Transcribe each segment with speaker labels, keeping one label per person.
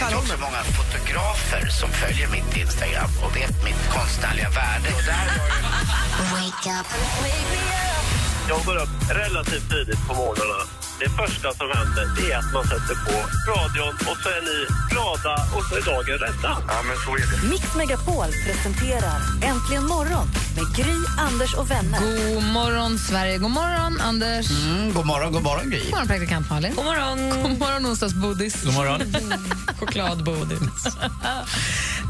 Speaker 1: Jag vet också många fotografer som följer mitt Instagram och vet mitt konstnärliga värde. Och där
Speaker 2: Jag går upp relativt tidigt på morgnarna. Det första som händer det är att man sätter på radion och så är ni glada och så är dagen rädda.
Speaker 1: ja, men så är det.
Speaker 3: Mix Megapol presenterar Äntligen morgon med Gry, Anders och vänner.
Speaker 4: God morgon, Sverige. God morgon, Anders.
Speaker 1: Mm, god morgon, god morgon, Gry.
Speaker 4: God morgon, praktikant Malin. God morgon, God morgon onsdagsbodis. God morgon. Chokladbodis.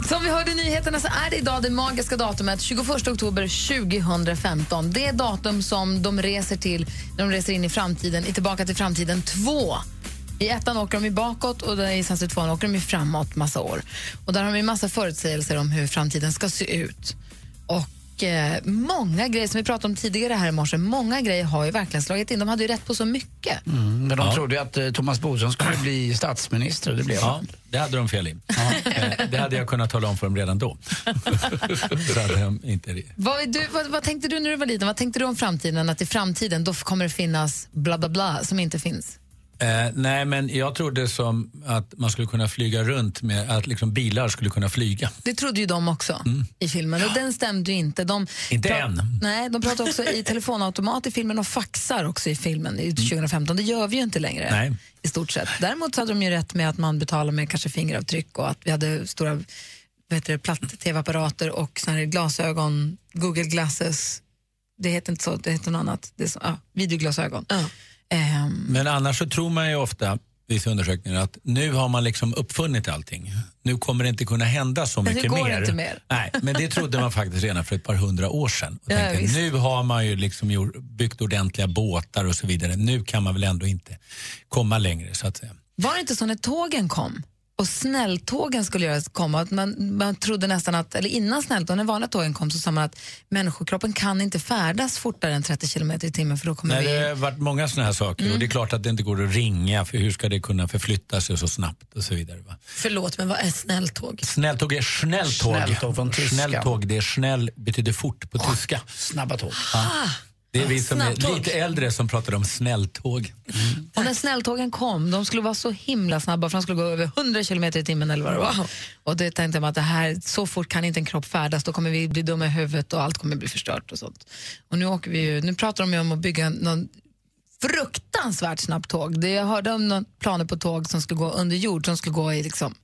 Speaker 4: Som vi hörde i nyheterna så är det idag det magiska datumet 21 oktober 2015. Det är datum som de reser till när de reser in i framtiden, i Tillbaka till framtiden 2. I ettan åker de ju bakåt och där i Sunset 2 åker de ju framåt massa år. Och där har de ju massa förutsägelser om hur framtiden ska se ut. Och eh, många grejer, som vi pratade om tidigare här i morse, många grejer har ju verkligen slagit in. De hade ju rätt på så mycket.
Speaker 1: Men de trodde ju att eh, Thomas Bodström skulle bli statsminister och det blev
Speaker 5: Ja,
Speaker 1: han.
Speaker 5: det hade de fel i. Eh, Det hade jag kunnat tala om för dem redan då. Så hade de inte... det.
Speaker 4: Vad, är du, vad, vad tänkte du när du var liten? Vad tänkte du om framtiden? Att i framtiden då kommer det finnas bla bla bla som inte finns?
Speaker 5: Eh, nej, men jag trodde som att man skulle kunna flyga runt med att liksom bilar skulle kunna flyga.
Speaker 4: Det trodde ju de också i filmen och den stämde ju inte. De
Speaker 5: Mm. Inte
Speaker 4: pra-
Speaker 5: än.
Speaker 4: Nej, de pratar också i telefonautomat i filmen och faxar också i filmen i 2015. Det gör vi ju inte längre
Speaker 5: Mm. Nej.
Speaker 4: i stort sett. Däremot så hade de ju rätt med att man betalar med kanske fingeravtryck och att vi hade stora vad heter det, platt-tv-apparater och såna här glasögon, Google glasses. Det heter inte så, det heter något annat. Det är så, ja, videoglasögon. Ehm,
Speaker 5: Men annars så tror man ju ofta, vissa undersökningar, att nu har man liksom uppfunnit allting. Nu kommer det inte kunna hända så
Speaker 4: Men nu
Speaker 5: mycket
Speaker 4: går det
Speaker 5: mer.
Speaker 4: inte mer.
Speaker 5: Nej, men det trodde man faktiskt redan för ett par hundra år sedan. Och
Speaker 4: Ja,
Speaker 5: tänkte,
Speaker 4: visst.
Speaker 5: nu har man ju liksom gjort, byggt ordentliga båtar och så vidare. Nu kan man väl ändå inte komma längre, så att säga.
Speaker 4: Var det inte så när tågen kom och snälltågen skulle göras komma, att man, man trodde nästan att, eller innan snälltågen, när vanliga tågen kom så sa man att människokroppen kan inte färdas fortare än 30 kilometer i timmen för då kommer
Speaker 5: Nej,
Speaker 4: vi... Mm.
Speaker 5: det har varit många sådana här saker och det är klart att det inte går att ringa för hur ska det kunna förflytta sig så snabbt och så vidare. Va?
Speaker 4: Förlåt, men vad är snälltåg?
Speaker 5: Snälltåg är snälltåg.
Speaker 1: Snälltåg från tyskan.
Speaker 5: Snälltåg, det är snäll betyder fort på tyska.
Speaker 1: Snabba tåg.
Speaker 5: Det är vi som är
Speaker 4: Snabbtåg.
Speaker 5: lite äldre som pratar om snälltåg.
Speaker 4: Och när snälltågen kom, de skulle vara så himla snabba för de skulle gå över 100 kilometer i timmen eller vad det var. Och det tänkte man att det här, så fort kan inte en kropp färdas, då kommer vi bli dumma i huvudet och allt kommer bli förstört och sånt. Och nu åker vi ju, nu pratar de ju om att bygga någon fruktansvärt snabbt tåg. Det, jag hörde om några planer på tåg som skulle gå under jord, som skulle gå i liksom,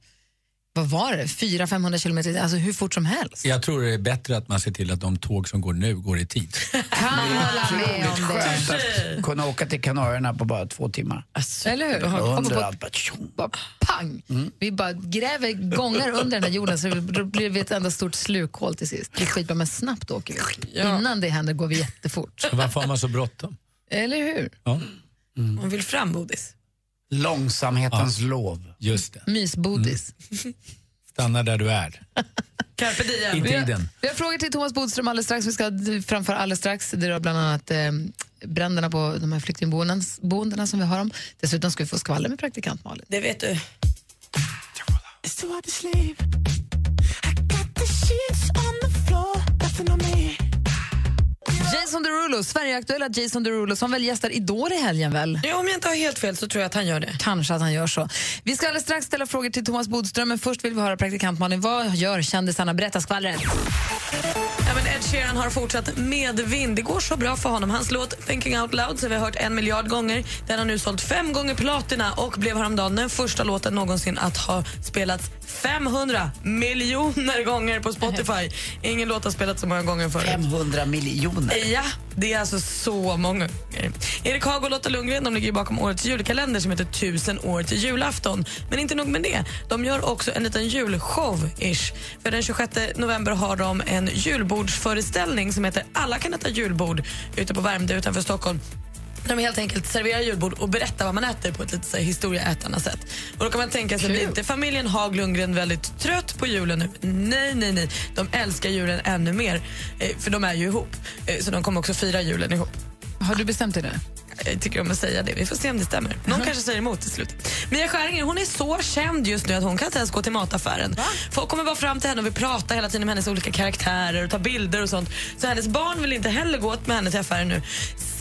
Speaker 4: vad var det, 400-500 kilometer, alltså hur fort som helst.
Speaker 5: Jag tror det är bättre att man ser till att de tåg som går nu går i tid.
Speaker 4: Kan hålla med
Speaker 1: Otroligt
Speaker 4: om det.
Speaker 1: skönt att kunna åka till Kanarierna på bara två timmar.
Speaker 4: Eller hur? Och på-
Speaker 1: Underallt. bara tjong.
Speaker 4: bara pang.
Speaker 5: Mm.
Speaker 4: Vi bara gräver gångar under den här jorden så det blir vi ett enda stort slukhål till sist. Det är skitbra, men snabbt åker vi. Innan det händer går vi jättefort.
Speaker 5: Varför har man så bråttom?
Speaker 4: Eller hur?
Speaker 5: Ja,
Speaker 6: Mm. Hon vill fram, Bodis.
Speaker 1: Långsamhetens lov.
Speaker 5: just det.
Speaker 4: Mysbodis.
Speaker 5: Stanna där du är.
Speaker 6: Carpe diem.
Speaker 5: Mm. I tiden.
Speaker 4: Vi har frågor till Thomas Bodström alldeles strax. Vi ska d- framföra alldeles strax. Det rör bland annat eh, bränderna på de här flyktingboendena som vi har om. Dessutom ska vi få skvaller med praktikant Malin.
Speaker 6: Det vet du.
Speaker 4: Jason Derulo, Sverigeaktuella Jason Derulo som väl gästar Idol i helgen väl?
Speaker 6: Ja, om jag inte har helt fel så tror jag att han gör det.
Speaker 4: Kanske att han gör så. Vi ska alldeles strax ställa frågor till Thomas Bodström, men först vill vi höra praktikant Malin. Vad gör kändisarna? Berätta skvallret.
Speaker 6: Ja, men Ed Sheeran har fortsatt medvind. Det går så bra för honom. Hans låt Thinking Out Loud så vi har hört en miljard gånger. Den har nu sålt fem gånger platina och blev häromdagen den första låten någonsin att ha spelats 500 miljoner gånger på Spotify. Ingen låt har spelats så många gånger förut.
Speaker 1: 500 miljoner.
Speaker 6: Ja, det är alltså så många gånger. Erik Haag och Lotta Lundgren de ligger ju bakom årets julkalender som heter Tusen år till julafton. Men inte nog med det, de gör också en liten julshow-ish. För den 26 november har de en julbordsföreställning som heter Alla kan äta julbord ute på Värmdö utanför Stockholm.
Speaker 7: Där de helt enkelt serverar julbord och berättar vad man äter på ett lite så här, historieätarna sätt. Och då kan man tänka sig, blir inte familjen Haag Lundgren väldigt trött på julen nu? Nej, nej, nej. De älskar julen ännu mer, eh, för de är ju ihop. Eh, så de kommer också fira julen ihop.
Speaker 4: Har du bestämt dig nu? Mhm.
Speaker 7: Jag tycker om att säga det. Vi får se om det stämmer. Någon kanske säger emot till slut. Mia Skäringer hon är så känd just nu att hon kan inte ens gå till mataffären. Folk kommer bara fram till henne och vill prata hela tiden om hennes olika karaktärer och ta bilder och sånt. Så hennes barn vill inte heller gå med henne till affären nu.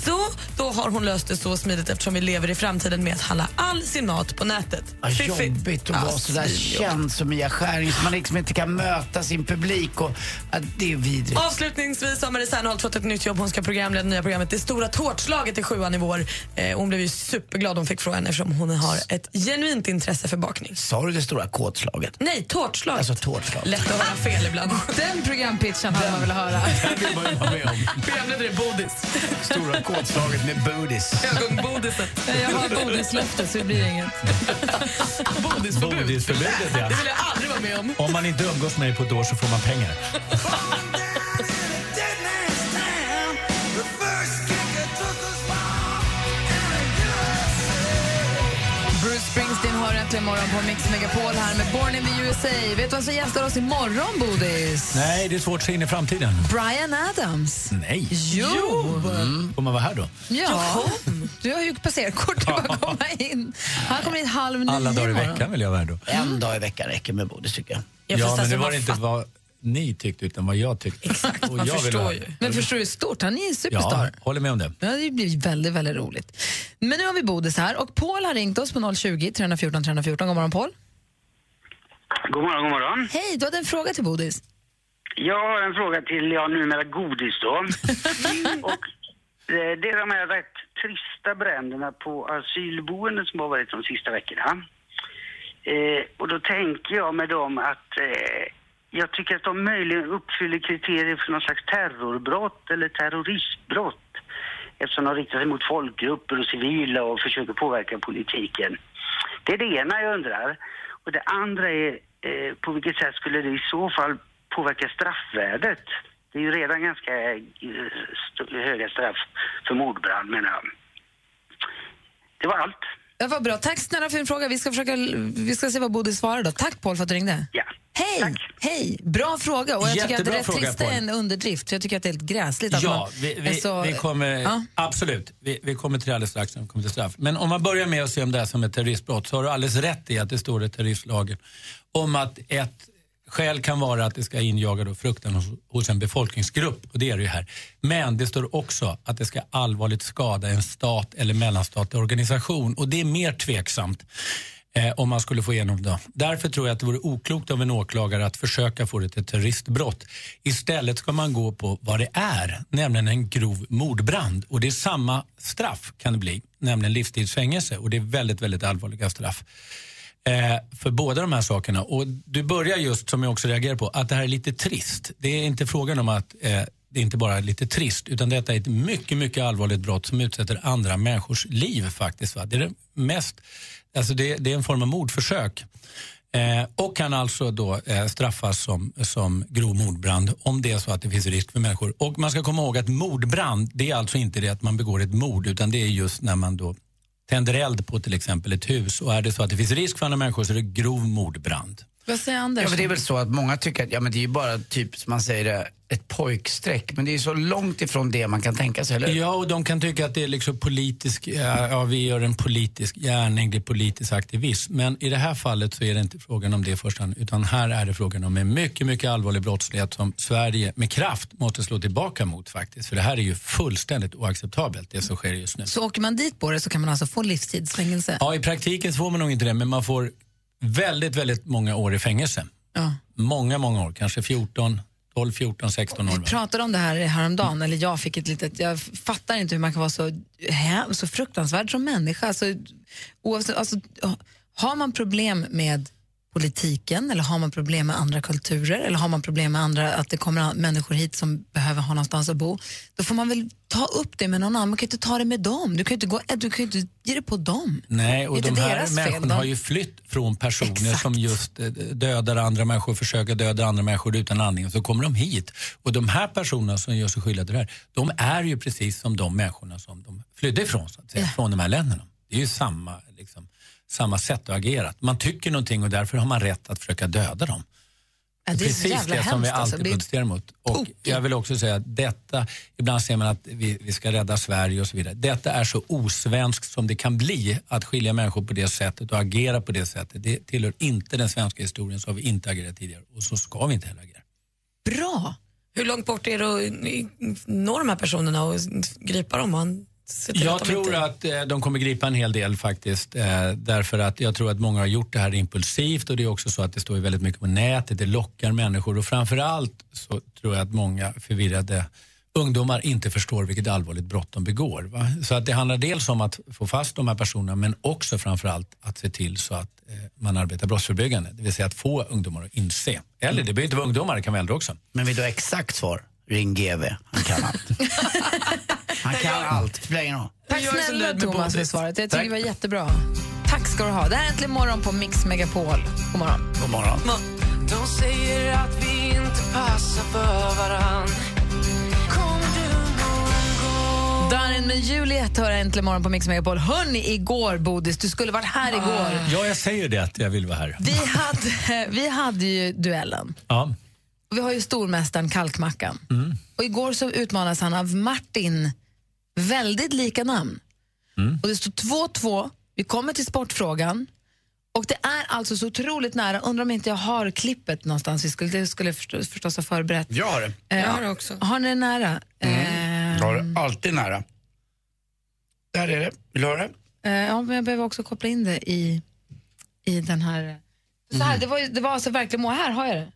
Speaker 7: Så då har hon löst det så smidigt eftersom vi lever i framtiden med att handla all sin mat på nätet.
Speaker 8: Ja, jobbigt att vara sådär känd som Mia Skäring så man liksom inte kan möta sin publik. Och, ja, det är vidrigt.
Speaker 7: Avslutningsvis har Marie Serneholt fått ett nytt jobb. Hon ska programleda det nya programmet Det stora tårtslaget i sjuan i vår. Eh, hon blev ju superglad hon fick frågan eftersom hon har ett genuint intresse för bakning.
Speaker 8: Sa du det stora kåtslaget?
Speaker 7: Nej, tårtslaget.
Speaker 8: Alltså tårtslaget.
Speaker 7: Lätt att höra fel ibland.
Speaker 4: Den programpitchen hade man velat höra.
Speaker 8: Det vill man ju vara med om.
Speaker 7: Programledare är bodis.
Speaker 8: Stora kåtslaget med budis.
Speaker 7: Ögonbodiset.
Speaker 4: Jag har godislöfte så det blir inget.
Speaker 7: Bodisförbud.
Speaker 5: Bodisförbudet, ja.
Speaker 7: Det vill jag aldrig vara med om.
Speaker 5: Om man inte umgås med mig på ett år så får man pengar.
Speaker 4: Bruce Springsteen har äntligen morgon på Mix Megapol här med Born in the USA. Vet du vem som gästar oss imorgon, Bodis?
Speaker 5: Nej, det är svårt att se in i framtiden.
Speaker 4: Brian Adams.
Speaker 5: Nej.
Speaker 4: Jo!
Speaker 5: Mm. Får man vara här då?
Speaker 4: Ja. Du har ju passerkort, du bara komma in. Han kommer in halv nio
Speaker 5: Alla dagar i
Speaker 4: imorgon.
Speaker 5: veckan vill jag vara här då.
Speaker 8: En dag i veckan räcker med budis tycker jag.
Speaker 7: Jag
Speaker 5: Ja,
Speaker 7: förstår
Speaker 5: men
Speaker 7: att
Speaker 5: nu
Speaker 7: man
Speaker 5: var det inte
Speaker 7: fatt-
Speaker 5: vad ni tyckte utan vad jag tyckte. Exakt,
Speaker 7: man förstår ju.
Speaker 4: Men förstår du, stort. Han är ju
Speaker 5: Ja,
Speaker 4: superstar.
Speaker 5: håller med om det.
Speaker 4: Ja, det blir väldigt, väldigt roligt. Men nu har vi Bodis här och Paul har ringt oss på 020 314 314. God morgon, Paul.
Speaker 9: God morgon, god morgon.
Speaker 4: Hej, du hade en fråga till Bodis.
Speaker 9: Jag har en fråga till, ja numera godis då. Och eh, det är de här rätt trista bränderna på asylboenden som har varit de sista veckorna. Eh, och då tänker jag med dem att eh, jag tycker att de möjligen uppfyller kriterier för någon slags terrorbrott eller terroristbrott. Eftersom de riktar sig mot folkgrupper och civila och försöker påverka politiken. Det är det ena jag undrar. Och det andra är eh, på vilket sätt skulle det i så fall påverka straffvärdet? Det är ju redan ganska eh, st- höga straff för mordbrand menar jag. Det var allt.
Speaker 4: Det var bra. Tack snälla för din fråga. Vi ska, försöka, vi ska se vad Bodil svarar då. Tack Paul för att du ringde.
Speaker 9: Ja.
Speaker 4: Hej!
Speaker 9: Tack.
Speaker 4: Hej! Bra fråga. Och jag tycker att
Speaker 5: Jättebra
Speaker 4: det rätt
Speaker 5: fråga,
Speaker 4: trist är
Speaker 5: Paul.
Speaker 4: en underdrift. Så jag tycker att det är helt gräsligt att
Speaker 5: Ja,
Speaker 4: man
Speaker 5: vi,
Speaker 4: är
Speaker 5: vi,
Speaker 4: så...
Speaker 5: vi kommer,
Speaker 4: Alltså, Ja.
Speaker 5: absolut. Vi, vi kommer till det alldeles strax när vi kommer till straff. Men om man börjar med att se om det här som ett terroristbrott så har du alldeles rätt i att det står i terroristlagen om att ett skäl kan vara att det ska injaga då fruktan hos, hos en befolkningsgrupp och det är det ju här. Men det står också att det ska allvarligt skada en stat eller mellanstatlig organisation och det är mer tveksamt. Eh, om man skulle få igenom det. Därför tror jag att det vore oklokt av en åklagare att försöka få det till ett terroristbrott. Istället ska man gå på vad det är, nämligen en grov mordbrand. Och det är samma straff kan det bli, nämligen livstidsfängelse. Och det är väldigt, väldigt allvarliga straff. Eh, för båda de här sakerna. Och du börjar just, som jag också reagerar på, att det här är lite trist. Det är inte frågan om att eh, det inte bara är lite trist, utan detta är ett mycket, mycket allvarligt brott som utsätter andra människors liv faktiskt. Va? Det är det mest, alltså det, det är en form av mordförsök. Eh, och kan alltså då eh, straffas som, som grov mordbrand om det är så att det finns risk för människor. Och man ska komma ihåg att mordbrand, det är alltså inte det att man begår ett mord, utan det är just när man då tänder eld på till exempel ett hus och är det så att det finns risk för andra människor så är det grov mordbrand.
Speaker 4: Vad säger Anders?
Speaker 8: Ja, men det är väl så att många tycker att ja, men det är ju bara typ, som man säger det, ett pojkstreck. Men det är ju så långt ifrån det man kan tänka sig, eller hur?
Speaker 5: Ja, och de kan tycka att det är liksom politisk, ja, ja vi gör en politisk gärning, det är politisk aktivism. Men i det här fallet så är det inte frågan om det i första hand, utan här är det frågan om en mycket, mycket allvarlig brottslighet som Sverige med kraft måste slå tillbaka mot faktiskt. För det här är ju fullständigt oacceptabelt, det som sker just nu.
Speaker 4: Så åker man dit på det så kan man alltså få livstidsfängelse?
Speaker 5: Ja, i praktiken så får man nog inte det, men man får väldigt, väldigt många år i fängelse.
Speaker 4: Ja.
Speaker 5: Många, många år, kanske 14, 12, 14, 16 år.
Speaker 4: Vi
Speaker 5: va?
Speaker 4: pratade om det här häromdagen, eller jag fick ett litet... Jag fattar inte hur man kan vara så, hä- så fruktansvärd som människa. Alltså, oavsett, alltså, har man problem med politiken eller har man problem med andra kulturer eller har man problem med andra, att det kommer an- människor hit som behöver ha någonstans att bo, då får man väl ta upp det med någon annan. Man kan ju inte ta det med dem. Du kan ju inte, gå, du kan ju inte ge det på dem.
Speaker 5: Nej,
Speaker 4: Det
Speaker 5: och
Speaker 4: är
Speaker 5: de
Speaker 4: inte
Speaker 5: här
Speaker 4: deras fel,
Speaker 5: människorna
Speaker 4: de-
Speaker 5: har ju flytt från personer som just eh, dödar andra människor, försöker döda andra människor utan andning och så kommer de hit. Och de här personerna som gör sig skyldiga till det här, de är ju precis som de människorna som de flydde ifrån, så att säga, från de här länderna. Det är ju samma, liksom, samma sätt att agera. Att Man tycker någonting och därför har man rätt att försöka döda dem.
Speaker 4: Ja, det är så
Speaker 5: Precis
Speaker 4: jävla
Speaker 5: det som vi
Speaker 4: hemskt, alltså.
Speaker 5: alltid
Speaker 4: Det är-
Speaker 5: protesterar mot. Och jag vill också säga att detta, ibland säger man att vi, vi ska rädda Sverige och så vidare. Detta är så osvenskt som det kan bli att skilja människor på det sättet och agera på det sättet. Det tillhör inte den svenska historien, så har vi inte agerat tidigare och så ska vi inte heller agera.
Speaker 4: Bra!
Speaker 6: Hur långt bort är det att i- nå de här personerna och gripa dem? Man ser till
Speaker 5: Jag
Speaker 6: de
Speaker 5: tror
Speaker 6: inte-
Speaker 5: att eh, de kommer gripa en hel del faktiskt. Eh, därför att jag tror att många har gjort det här impulsivt och det är också så att det står ju väldigt mycket på nätet. Det lockar människor och framförallt så tror jag att många förvirrade ungdomar inte förstår vilket allvarligt brott de begår. Va? Så att det handlar dels om att få fast de här personerna men också framförallt att se till så att eh, man arbetar brottsförebyggande. Det vill säga att få ungdomar att inse. Eller det behöver inte vara ungdomar, det kan vara äldre också.
Speaker 8: Men vill du ha exakt svar? Ring GV. Han kan allt. Han kan allt. Spelar ingen roll.
Speaker 4: Tack
Speaker 6: Jag är så
Speaker 4: snälla
Speaker 6: nöjd med
Speaker 4: Thomas för
Speaker 6: bodis.
Speaker 4: svaret. Jag
Speaker 8: Tack.
Speaker 4: tycker det var jättebra. Tack ska du ha. Det här är Äntligen morgon på Mix Megapol. God morgon.
Speaker 8: God morgon.
Speaker 10: De säger att vi inte passar för varann.
Speaker 4: Darin med Juliet hör Äntligen morgon på Mix Megapol. Hörni, igår Bodis, du skulle varit här igår.
Speaker 5: Ja, jag säger det att jag vill vara här.
Speaker 4: Vi hade, vi hade ju duellen.
Speaker 5: Ja.
Speaker 4: Och vi har ju stormästaren Kalkmackan. Och igår så utmanas han av Martin, väldigt lika namn. Och det står 2-2, vi kommer till sportfrågan. Och det är alltså så otroligt nära, undrar om inte jag har klippet någonstans, vi skulle, det skulle jag förstås, förstås ha förberett.
Speaker 8: Jag har det.
Speaker 4: Eh,
Speaker 6: Jag har det också.
Speaker 4: Har ni det nära? Eh,
Speaker 8: Jag har det alltid nära. Där är det. Vill du höra?
Speaker 4: Eh, ja, men jag behöver också koppla in det i, i den här... Så här det, var, ju- det var alltså verkligen mål... Här har jag det.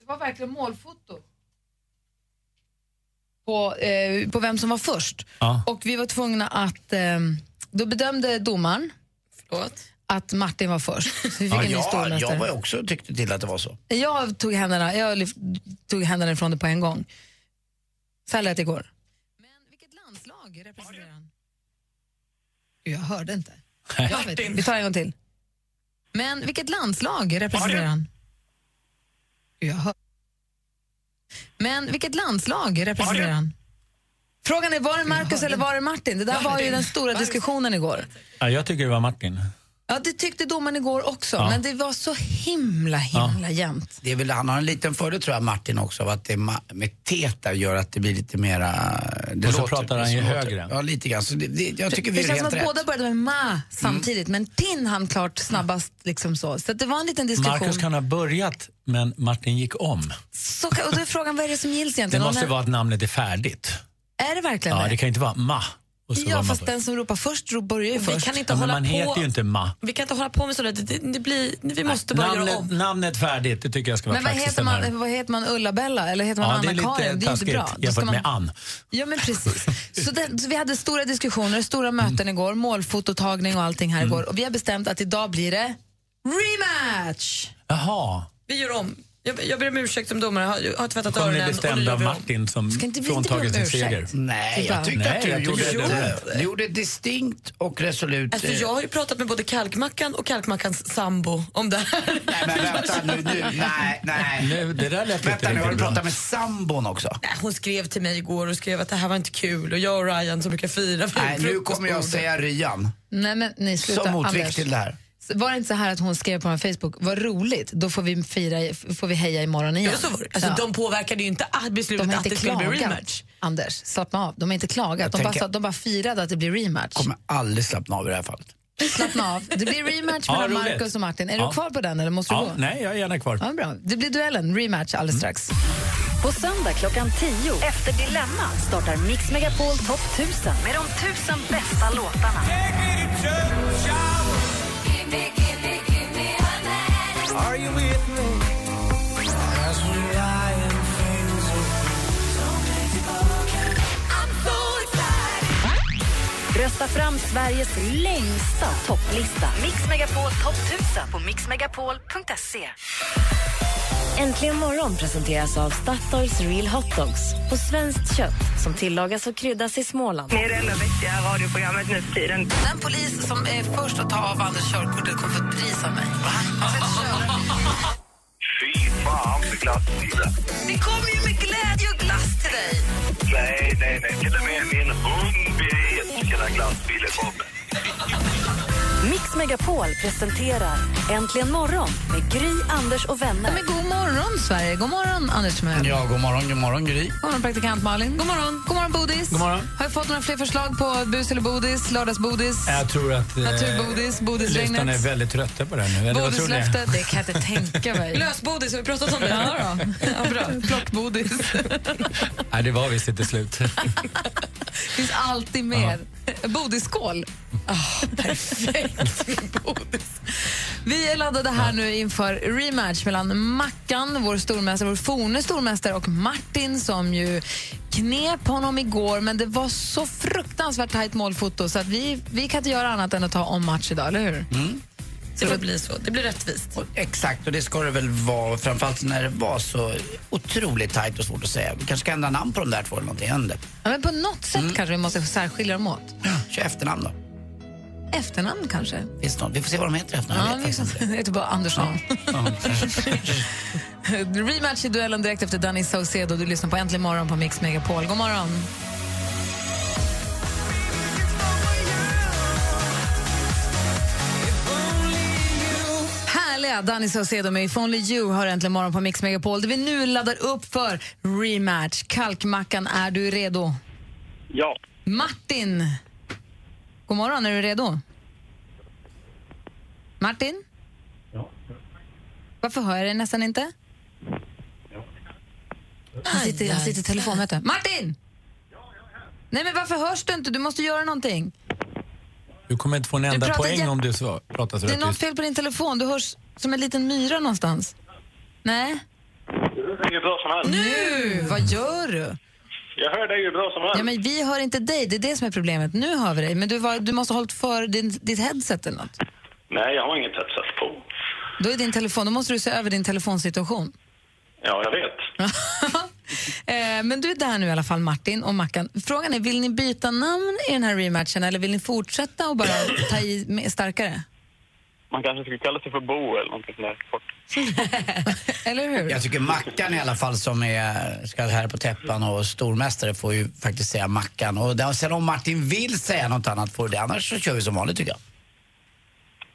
Speaker 4: Det var verkligen målfoto. På, eh, på vem som var först.
Speaker 5: Ja.
Speaker 4: Och vi var tvungna att... Eh, då bedömde domaren
Speaker 6: Förlåt.
Speaker 4: att Martin var först. Så vi fick
Speaker 8: Ah,
Speaker 4: en ny
Speaker 8: jag, jag
Speaker 4: stormästare.
Speaker 8: var ju också tyckte till att det var så.
Speaker 4: Jag tog händerna, jag lyft, tog händerna ifrån det på en gång. Så här lät det igår. Men vilket landslag representerar han? Gud, Jag hörde inte. Jag vet inte. Vi tar en gång till. Men vilket landslag representerar han? Gud, Jag hör. Men vilket landslag representerar han? Frågan är, var det Marcus eller var det Martin? Det där var ju den stora diskussionen igår.
Speaker 5: Ja, jag tycker det var Martin.
Speaker 4: Ja, det tyckte domaren igår också, men det var så himla, himla jämnt.
Speaker 8: Det är väl, han har en liten fördel tror jag, Martin också, av att det är ma- med teta gör att det blir lite mera... Det
Speaker 5: Och så pratar han ju
Speaker 8: det
Speaker 5: högre.
Speaker 8: Ja, lite grann. Så det, det, jag tycker vi
Speaker 4: Det
Speaker 8: är
Speaker 4: känns som
Speaker 8: helt
Speaker 4: att
Speaker 8: rätt.
Speaker 4: båda började med ma samtidigt, men Tin hann klart snabbast. Liksom så så att det var en liten diskussion.
Speaker 5: Marcus kan ha börjat, men Martin gick om.
Speaker 4: Så, kan- och då är frågan, vad är det som gills
Speaker 5: Det
Speaker 4: egentligen?
Speaker 5: måste
Speaker 4: Och när-
Speaker 5: vara att namnet är färdigt.
Speaker 4: Är det verkligen
Speaker 5: Ja,
Speaker 4: det?
Speaker 5: det kan ju inte vara ma. Och så
Speaker 4: ja,
Speaker 5: var man
Speaker 4: fast
Speaker 5: först.
Speaker 4: den som ropar först ro- börjar ju
Speaker 6: Vi
Speaker 4: först.
Speaker 6: kan inte
Speaker 5: ja, men
Speaker 6: hålla
Speaker 5: man
Speaker 6: på.
Speaker 5: heter ju inte ma.
Speaker 6: Vi kan inte hålla på med sådär. Det, det, det blir, vi måste bara göra
Speaker 5: namnet,
Speaker 6: om.
Speaker 5: namnet färdigt, det tycker jag ska vara
Speaker 4: Men vad
Speaker 5: praxis
Speaker 4: heter,
Speaker 5: den här.
Speaker 4: man, vad heter man? Ulla-Bella? Eller heter man
Speaker 5: Ja, det är
Speaker 4: Anna-Karin?
Speaker 5: lite
Speaker 4: ju inte
Speaker 5: taskigt
Speaker 4: bra. Då ska
Speaker 5: jämfört
Speaker 4: man-
Speaker 5: med Ann.
Speaker 4: Ja, men precis. Så, det, så vi hade stora diskussioner, stora
Speaker 5: Mm.
Speaker 4: möten igår, målfototagning och allting här igår. Och vi har bestämt att idag blir det rematch!
Speaker 5: Jaha,
Speaker 6: Vi gör om. Jag, jag ber om ursäkt som domare. Jag har, jag har tvättat
Speaker 5: kom ni
Speaker 6: öronen och nu
Speaker 5: bestämda
Speaker 6: gör
Speaker 5: av
Speaker 6: vi om.
Speaker 5: Martin som
Speaker 4: Ska inte vi inte
Speaker 5: fråntagen
Speaker 4: be om
Speaker 5: sin seger?
Speaker 4: ursäkt?
Speaker 8: Nej,
Speaker 4: Typ
Speaker 8: jag tyckte
Speaker 5: Nej,
Speaker 8: att du
Speaker 5: jag tycker
Speaker 8: gjorde,
Speaker 5: det
Speaker 8: gjorde,
Speaker 5: är
Speaker 8: det.
Speaker 5: rätt.
Speaker 8: du gjorde det distinkt och resolut.
Speaker 6: Alltså,
Speaker 8: eh,
Speaker 6: jag har ju pratat med både Kalkmackan och Kalkmackans sambo om det här.
Speaker 8: Nej, men vänta nu. nu nej, nej.
Speaker 5: Nu, det där lät
Speaker 8: Vänta
Speaker 5: inte
Speaker 8: nu, har du
Speaker 5: riktigt bra.
Speaker 8: pratat med sambon också?
Speaker 6: Nej, Hon skrev till mig igår och skrev att det här var inte kul och jag och Ryan som brukar fira vid
Speaker 8: Nej, nu
Speaker 6: frukostbordet.
Speaker 8: kommer jag säga Ryan
Speaker 4: Nej, men nej, sluta.
Speaker 8: som motvikt
Speaker 4: Anders.
Speaker 8: till det här.
Speaker 4: Var det inte så här att hon skrev på en Facebook, vad roligt, då får vi, fira, f- får vi heja imorgon igen?
Speaker 6: Ja, så var det. Alltså,
Speaker 4: Ja.
Speaker 6: De påverkade ju inte att beslutet
Speaker 4: de har
Speaker 6: att
Speaker 4: inte
Speaker 6: det skulle bli
Speaker 4: klagat,
Speaker 6: rematch.
Speaker 4: Anders. Slappna av. De har inte klagat.
Speaker 8: Jag
Speaker 4: De, bara,
Speaker 8: tänker-
Speaker 4: sa- de bara firade att det blir rematch.
Speaker 8: Kommer aldrig slappna av i det här fallet.
Speaker 4: Slappna av. Det blir rematch
Speaker 5: Ja,
Speaker 4: mellan
Speaker 5: roligt.
Speaker 4: Marcus och Martin. Är
Speaker 5: Ja.
Speaker 4: du kvar på den eller måste du
Speaker 5: Ja, Mm.
Speaker 4: gå?
Speaker 5: nej, jag är gärna kvar.
Speaker 4: Ja, bra. Det blir duellen, rematch alldeles strax.
Speaker 3: På söndag klockan 10 efter Dilemma startar Mix Megapol Top 1000 med de tusen bästa låtarna. rösta fram Sveriges längsta topplista. Mix Megapol topp 1000 på mixmegapol.se. Äntligen morgon presenteras av Statoils Real Hot Dogs på svenskt kött som tillagas och kryddas i Småland.
Speaker 11: Ni är det enda vettiga radioprogrammet nu för tiden.
Speaker 4: Den polis som är först att ta av Anders körkortet kommer få ett pris av mig.
Speaker 2: Fy fan för glassbilen.
Speaker 4: Det kommer ju med glädje och glass till dig.
Speaker 2: Nej, nej, nej. Till och med min hund blir ilsken när glassbilen kommer.
Speaker 3: Mix Megapol presenterar Äntligen morgon med Gry, Anders och vänner.
Speaker 4: Men god morgon, Sverige. God morgon, Anders Timell.
Speaker 8: Ja, god morgon, god morgon Gry.
Speaker 4: God morgon, praktikant Malin. God morgon. God morgon, Bodis.
Speaker 5: God morgon.
Speaker 4: Har jag fått några fler förslag på bus eller bodis, lördagsbodis?
Speaker 5: Jag tror att eh,
Speaker 4: Naturbodis, bodisregnet.
Speaker 5: lyssnarna är väldigt trötta på det här nu. Eller vad tror ni?
Speaker 4: Bonuslöfte, det kan jag inte tänka mig.
Speaker 6: Lösbodis, har vi pratat om det?
Speaker 4: Ja, då. ja, bra. Plockbodis.
Speaker 5: Nej, det var visst inte slut.
Speaker 4: finns alltid med. Bodisskål. Ah, perfekt med bodis. Vi är laddade här nu inför rematch mellan Mackan, vår stormästare, vår forne stormästare och Martin som ju knep honom igår men det var så fruktansvärt tajt målfoto så att vi, vi kan inte göra annat än att ta om match idag, eller hur?
Speaker 6: Mm. Det får bli så. Det blir rättvist.
Speaker 8: Och, exakt, och det ska det väl vara. Framförallt när det var så otroligt tajt och svårt att säga. Vi kanske ska ändra namn på de där två eller någonting. Händer.
Speaker 4: Ja, men på något sätt
Speaker 6: Mm.
Speaker 4: kanske vi måste särskilja dem åt.
Speaker 8: Kör efternamn då.
Speaker 4: Efternamn kanske?
Speaker 8: Finns det någon? Vi får se vad de heter i efternamn.
Speaker 4: Ja,
Speaker 8: Jag vet faktiskt
Speaker 4: liksom.
Speaker 8: inte.
Speaker 4: Jag heter bara Andersson. Rematch i duellen direkt efter Danny Saucedo. Du lyssnar på Äntligen morgon på Mix Megapol. God morgon! Härliga Danny Saucedo med If Only You hör Äntligen morgon på Mix Megapol där vi nu laddar upp för rematch. Kalkmackan, är du redo?
Speaker 2: Ja.
Speaker 4: Martin! God morgon, är du redo? Martin? Varför hör jag dig nästan inte? Han sitter, han sitter i telefonmöte. Martin! Nej, men varför hörs du inte? Du måste göra någonting.
Speaker 5: Du kommer inte få en enda
Speaker 4: pratar
Speaker 5: poäng
Speaker 4: jä-
Speaker 5: om du svar, pratar så
Speaker 4: Det är
Speaker 5: rätt
Speaker 4: något
Speaker 5: tyst.
Speaker 4: fel på din telefon. Du hörs som en liten myra någonstans. Nej.
Speaker 2: Det är ju bra som helst.
Speaker 4: Nu! Vad gör du?
Speaker 2: Jag hör dig ju bra som
Speaker 4: Ja, men vi hör inte dig. Det är det som är problemet. Nu hör vi dig, men du, var, du måste ha hållit för din, ditt headset eller något.
Speaker 2: Nej, jag har inget headset på.
Speaker 4: Då är din telefon, då måste du se över din telefonsituation.
Speaker 2: Ja, jag vet.
Speaker 4: Eh, Men du är där nu i alla fall, Martin och Mackan. Frågan är, vill ni byta namn i den här rematchen eller vill ni fortsätta och bara ta i med- starkare?
Speaker 2: Man kanske skulle kalla sig för Bo eller någonting sånt där. kort.
Speaker 4: Eller hur?
Speaker 8: Jag tycker Mackan i alla fall som är ska här på täppan och stormästare får ju faktiskt säga Mackan. Och där- sen om Martin vill säga något annat får du det. Annars så kör vi som vanligt tycker jag.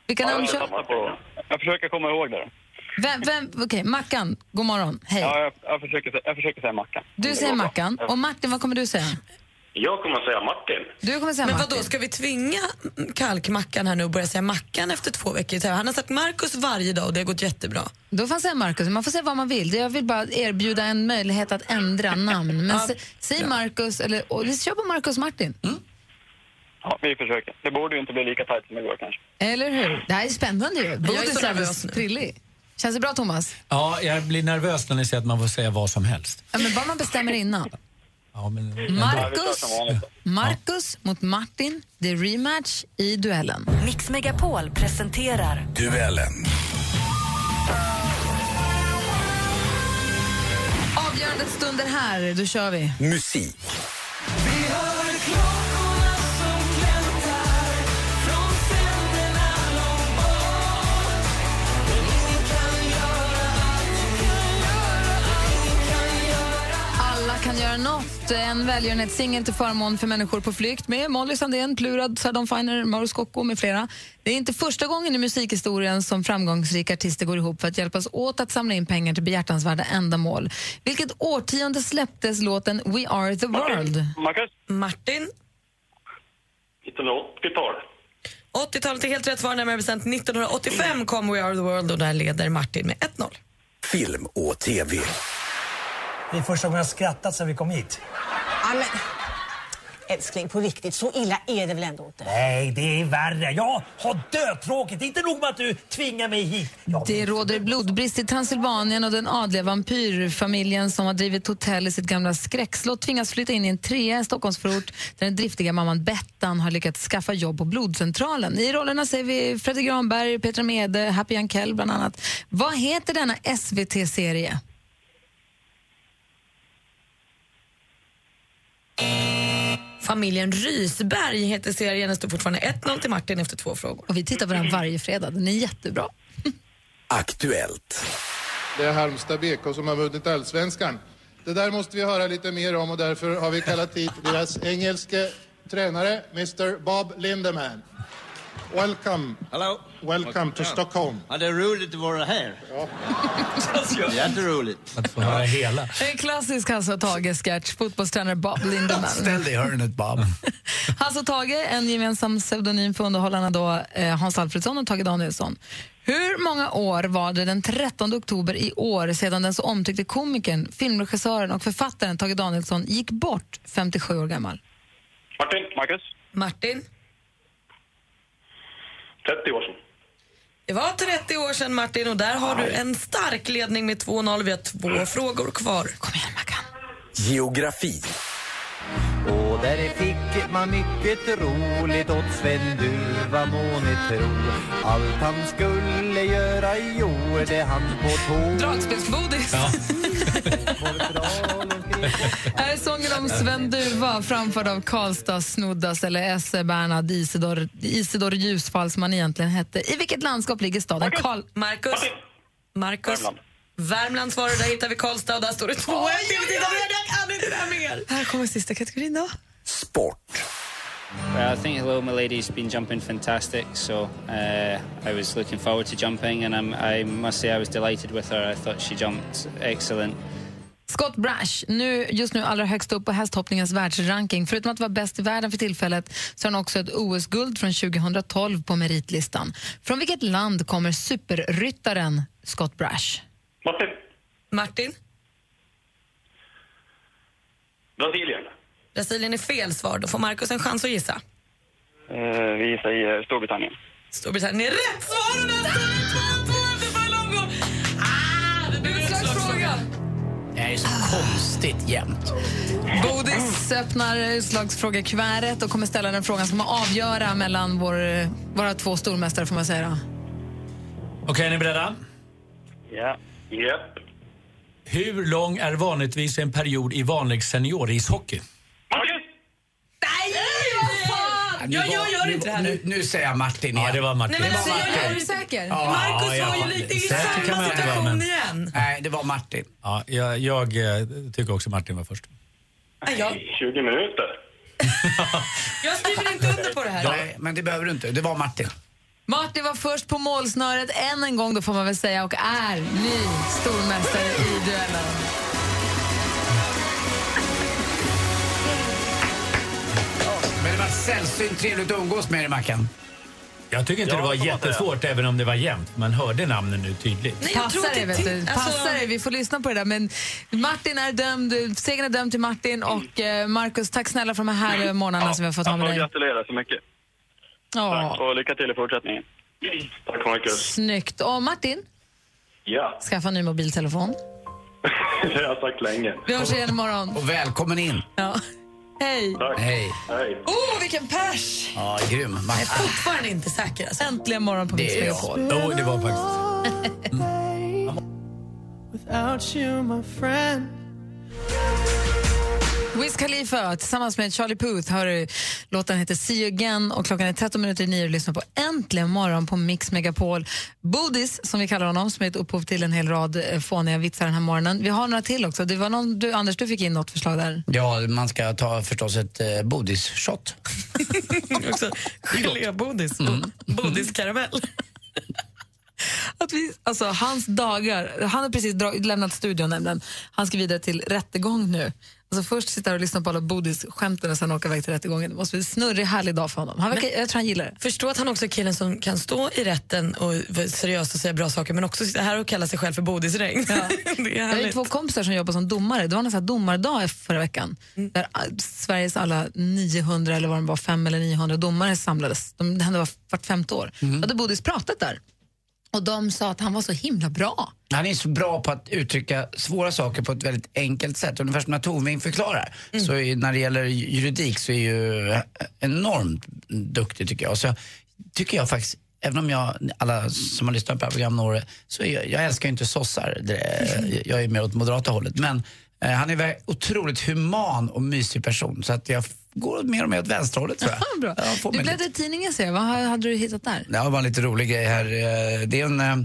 Speaker 4: Vilka namn
Speaker 2: jag,
Speaker 4: kör...
Speaker 2: tappar på. jag försöker komma ihåg det. då.
Speaker 4: Vem, vem, okej, Mackan, god morgon.
Speaker 2: Ja,
Speaker 4: Hej.
Speaker 2: jag, jag, försöker, sä- jag försöker säga Mackan.
Speaker 4: Du
Speaker 2: Det
Speaker 4: säger
Speaker 2: går bra.
Speaker 4: Mackan och Martin, vad kommer du säga?
Speaker 2: Jag kommer att säga Martin.
Speaker 4: Du kommer säga
Speaker 6: Men
Speaker 4: Martin.
Speaker 6: vad då ska vi tvinga kalkmackan här nu och börja säga mackan efter två veckor? i tv? Han har sagt Marcus varje dag och det har gått jättebra.
Speaker 4: Då får han säga Marcus. Man får säga vad man vill. Jag vill bara erbjuda en möjlighet att ändra namn. Men sä- säg Marcus, eller och, kör på Marcus Martin.
Speaker 6: Mm.
Speaker 2: Ja, vi försöker. Det borde ju inte bli lika tajt som igår kanske.
Speaker 4: Eller hur? Det här är spännande ju. Bodis är
Speaker 6: nervös
Speaker 4: alldeles
Speaker 6: nu.
Speaker 4: prillig. Känns det bra, Thomas?
Speaker 5: Ja, jag blir nervös när ni säger att man får säga vad som helst.
Speaker 4: Ja, men bara man bestämmer innan.
Speaker 5: Ja, men
Speaker 4: Marcus,
Speaker 2: som vanligt.
Speaker 4: Marcus mot Martin. Det är rematch i duellen.
Speaker 3: Mix Megapol presenterar
Speaker 4: Avgörandets stund är här. Då kör vi.
Speaker 12: Musik.
Speaker 4: Alla kan göra något. En välgörenhetssingel till förmån för människor på flykt med Molly Sandén, Plurad, Saddam Finer, Mauro Scocco med flera. Det är inte första gången i musikhistorien som framgångsrika artister går ihop för att hjälpas åt att samla in pengar till behjärtansvärda ändamål. Vilket årtionde släpptes låten We are the world?
Speaker 2: Marcus?
Speaker 6: Martin,
Speaker 2: 1980-tal.
Speaker 6: 80-talet är helt rätt svar, närmare bestämt 1985 kom We Are The World och där leder Martin med 1-0.
Speaker 12: Film och tv.
Speaker 13: Det är första gången jag skrattat sedan vi kom hit. Älskling, på riktigt, så illa är det väl ändå inte?
Speaker 14: Nej, det är värre. Jag har dötråkigt. Inte nog med att du tvingar mig hit. Jag
Speaker 4: Det råder blodbrist i Transylvanien och den adliga vampyrfamiljen som har drivit hotell i sitt gamla skräckslott tvingas flytta in i en trea i Stockholmsförort där den driftiga mamman Bettan har lyckats skaffa jobb på blodcentralen. I rollerna ser vi Fredrik Granberg, Petra Mede, Happy Jankell bland annat. Vad heter denna SVT-serie?
Speaker 6: Familjen Rysberg heter serien. Det står fortfarande 1-0 till Martin efter två frågor.
Speaker 4: Och vi tittar på den varje fredag. Den är jättebra.
Speaker 15: Aktuellt. Det är Halmstad BK som har vunnit allsvenskan. Det där måste vi höra lite mer om och därför har vi kallat hit deras engelske tränare, Mr Bob Lindeman. Welcome.
Speaker 16: Hello.
Speaker 15: Welcome to Stockholm.
Speaker 16: Ja, det är roligt att vara här. Jätteroligt. Att få höra
Speaker 5: hela.
Speaker 4: En klassisk Hasse och Tage-sketch. Fotbollstränare Bob Lindemann.
Speaker 8: Ställ dig i hörnet, Bob.
Speaker 4: Hasse och Tage, en gemensam pseudonym för underhållarna då, eh, Hans Alfredsson och Tage Danielsson. Hur många år var det den 13 oktober i år sedan den så omtyckte komikern, filmregissören och författaren Tage Danielsson gick bort 57 år gammal?
Speaker 17: Martin, Marcus,
Speaker 6: Martin,
Speaker 17: 30 år sedan.
Speaker 6: det var 30 år sedan Martin och där har du en stark ledning med 2-0. Vi har två frågor kvar.
Speaker 18: Geografi. Och där fick man mycket roligt åt Sven Duva må ni tro Allt han skulle göra gjorde han på tå
Speaker 4: Dragspelsbodis. Här är sången om Sven Duva framförd av Karlstad Snoddas eller S.E. Bernhard Isidor, Isidor Ljusfall som han egentligen hette. I vilket landskap ligger staden Karl...
Speaker 6: Marcus. Marcus. Värmland. Värmland svarar, där hittar vi Karlstad och där står det 2-1.
Speaker 4: Oj,
Speaker 6: Jag
Speaker 4: oj, oj.
Speaker 6: kan inte det här mer.
Speaker 4: Här kommer sista kategorin då.
Speaker 19: Uh, I think Hello My Lady's been jumping fantastic, so uh, I was looking forward to jumping, and I'm, I must say I was delighted with her. I thought she jumped excellent.
Speaker 4: Scott Brash, nu, just nu allra högst upp på hästhoppningens världsranking. Förutom att vara bäst i världen för tillfället så har han också ett OS-guld från 2012 på meritlistan. Från vilket land kommer superryttaren Scott Brash?
Speaker 17: Martin,
Speaker 6: Martin,
Speaker 17: Brasilien.
Speaker 6: Brasilien är fel svar. Då får Marcus en chans att gissa.
Speaker 17: Eh, vi säger Storbritannien.
Speaker 6: Storbritannien är rätt svar och där står det 2-2 efter Falongo. Ah, det blev en slagsfråga.
Speaker 8: Det här är så konstigt jämt.
Speaker 4: Bodis öppnar utslagsfrågekuvertet och kommer ställa den frågan som kommer avgöra mellan vår, våra två stormästare. Får man säga då.
Speaker 5: Okej, är ni beredda?
Speaker 17: Ja. Japp.
Speaker 5: Hur lång är vanligtvis en period i vanlig seniorishockey?
Speaker 6: Nej, vad fan!
Speaker 8: Nu
Speaker 6: Jag,
Speaker 8: var-
Speaker 6: jag gör
Speaker 8: nu,
Speaker 6: inte det här nu.
Speaker 8: nu. Nu säger jag Martin igen.
Speaker 5: Ja, det var Martin.
Speaker 6: Nej, men alltså,
Speaker 8: Det var
Speaker 6: jag är
Speaker 8: Martin.
Speaker 6: du säker?
Speaker 8: Ja,
Speaker 6: Marcus var
Speaker 8: ja,
Speaker 6: ju lite i
Speaker 8: säker
Speaker 6: samma
Speaker 8: kan man inte vara,
Speaker 6: situation
Speaker 8: men-
Speaker 6: igen.
Speaker 8: Nej, det var Martin.
Speaker 5: Ja, jag, jag eh, tycker också Martin var först.
Speaker 6: Nej, jag,
Speaker 17: 20 minuter.
Speaker 6: jag skriver inte under på det här.
Speaker 8: Nej, men det behöver du inte. Det var Martin.
Speaker 4: Martin var först på målsnöret än en gång då får man väl säga och är ny stormästare i duellen.
Speaker 8: Men det var sällsynt trevligt att umgås med dig, Mackan.
Speaker 5: Jag tycker inte
Speaker 8: Ja,
Speaker 5: det var
Speaker 8: får man
Speaker 5: jättesvårt även om det var jämnt. Man hörde namnen nu tydligt.
Speaker 4: Passa dig, vet du.
Speaker 6: alltså-
Speaker 4: Passa dig, vi får lyssna på det där. Men Martin är dömd, segern är dömd till Martin och eh, Markus, tack snälla för de här härliga morgnarna som vi har fått ha med dig.
Speaker 17: Gratulerar så mycket.
Speaker 4: Ja,
Speaker 17: Och lycka till i fortsättningen. Tack, Marcus.
Speaker 4: snyggt. Och Martin,
Speaker 17: Ja,
Speaker 4: skaffa en ny mobiltelefon.
Speaker 17: det har jag sagt länge.
Speaker 4: Vi hörs igen imorgon.
Speaker 8: Och välkommen in.
Speaker 4: Ja. Hej!
Speaker 17: Tack.
Speaker 8: Hej.
Speaker 17: Hej.
Speaker 4: Åh, oh, vilken pers!
Speaker 8: Ja, grym.
Speaker 4: Jag är
Speaker 8: Martin.
Speaker 4: fortfarande inte säker. Alltså. Äntligen morgon på Mix
Speaker 8: Det är jag.
Speaker 4: Megapol.
Speaker 8: Jo, det var
Speaker 10: Without you my friend
Speaker 4: Wiz Khalifa tillsammans med Charlie Puth har du låten heter See you again och klockan är 13 minuter i nio och lyssnar på Äntligen morgon på Mix Megapol. Bodis, som vi kallar honom, som är ett upphov till en hel rad eh, fåniga vitsar den här morgonen. Vi har några till också. Det var någon, du, Anders, du fick in något förslag där.
Speaker 8: Ja, man ska ta förstås ett eh, bodis-shot.
Speaker 6: Gelébodis. Bodiskaramell.
Speaker 4: Att vi, alltså, hans dagar, han har precis dra, lämnat studion nämligen. Han ska vidare till rättegång nu. Alltså först sitta här och lyssna på alla bodis-skämten och sen åka iväg till rättegången. Det måste bli en snurrig, härlig dag för honom. Han verkar, jag tror han gillar det.
Speaker 6: Förstå att han också är killen som kan stå i rätten och vara seriöst och säga bra saker men också sitta här och kalla sig själv för bodisregn. det är
Speaker 4: Jag har ju
Speaker 6: härligt.
Speaker 4: två kompisar som jobbar som domare. Det var en sån här domardag förra veckan
Speaker 6: Mm.
Speaker 4: där all- Sveriges alla 900 eller vad de var, 5 eller 900 domare samlades. De, det hände var vart femte år.
Speaker 6: Mm.
Speaker 4: Då hade Bodis pratat där och de sa att han var så himla bra.
Speaker 8: Han är så bra på att uttrycka svåra saker på ett väldigt enkelt sätt. Ungefär som när Torving förklarar.
Speaker 4: Mm.
Speaker 8: Så i- när det gäller juridik så är ju enormt duktig tycker jag. Så tycker jag faktiskt, även om jag, alla som har lyssnat på det här programmet några år, så är jag, jag älskar ju inte sossar. Det, jag är mer åt moderata hållet. Men eh, han är väl otroligt human och mysig person. Så att jag f- går mer och mer åt vänsterhållet tror jag.
Speaker 4: Bra.
Speaker 8: Ja, får
Speaker 4: Du
Speaker 8: mig
Speaker 4: bläddrade i tidningen ser jag. Vad hade du hittat där?
Speaker 8: Ja, det var en lite rolig grej här. Eh, Det är en, eh,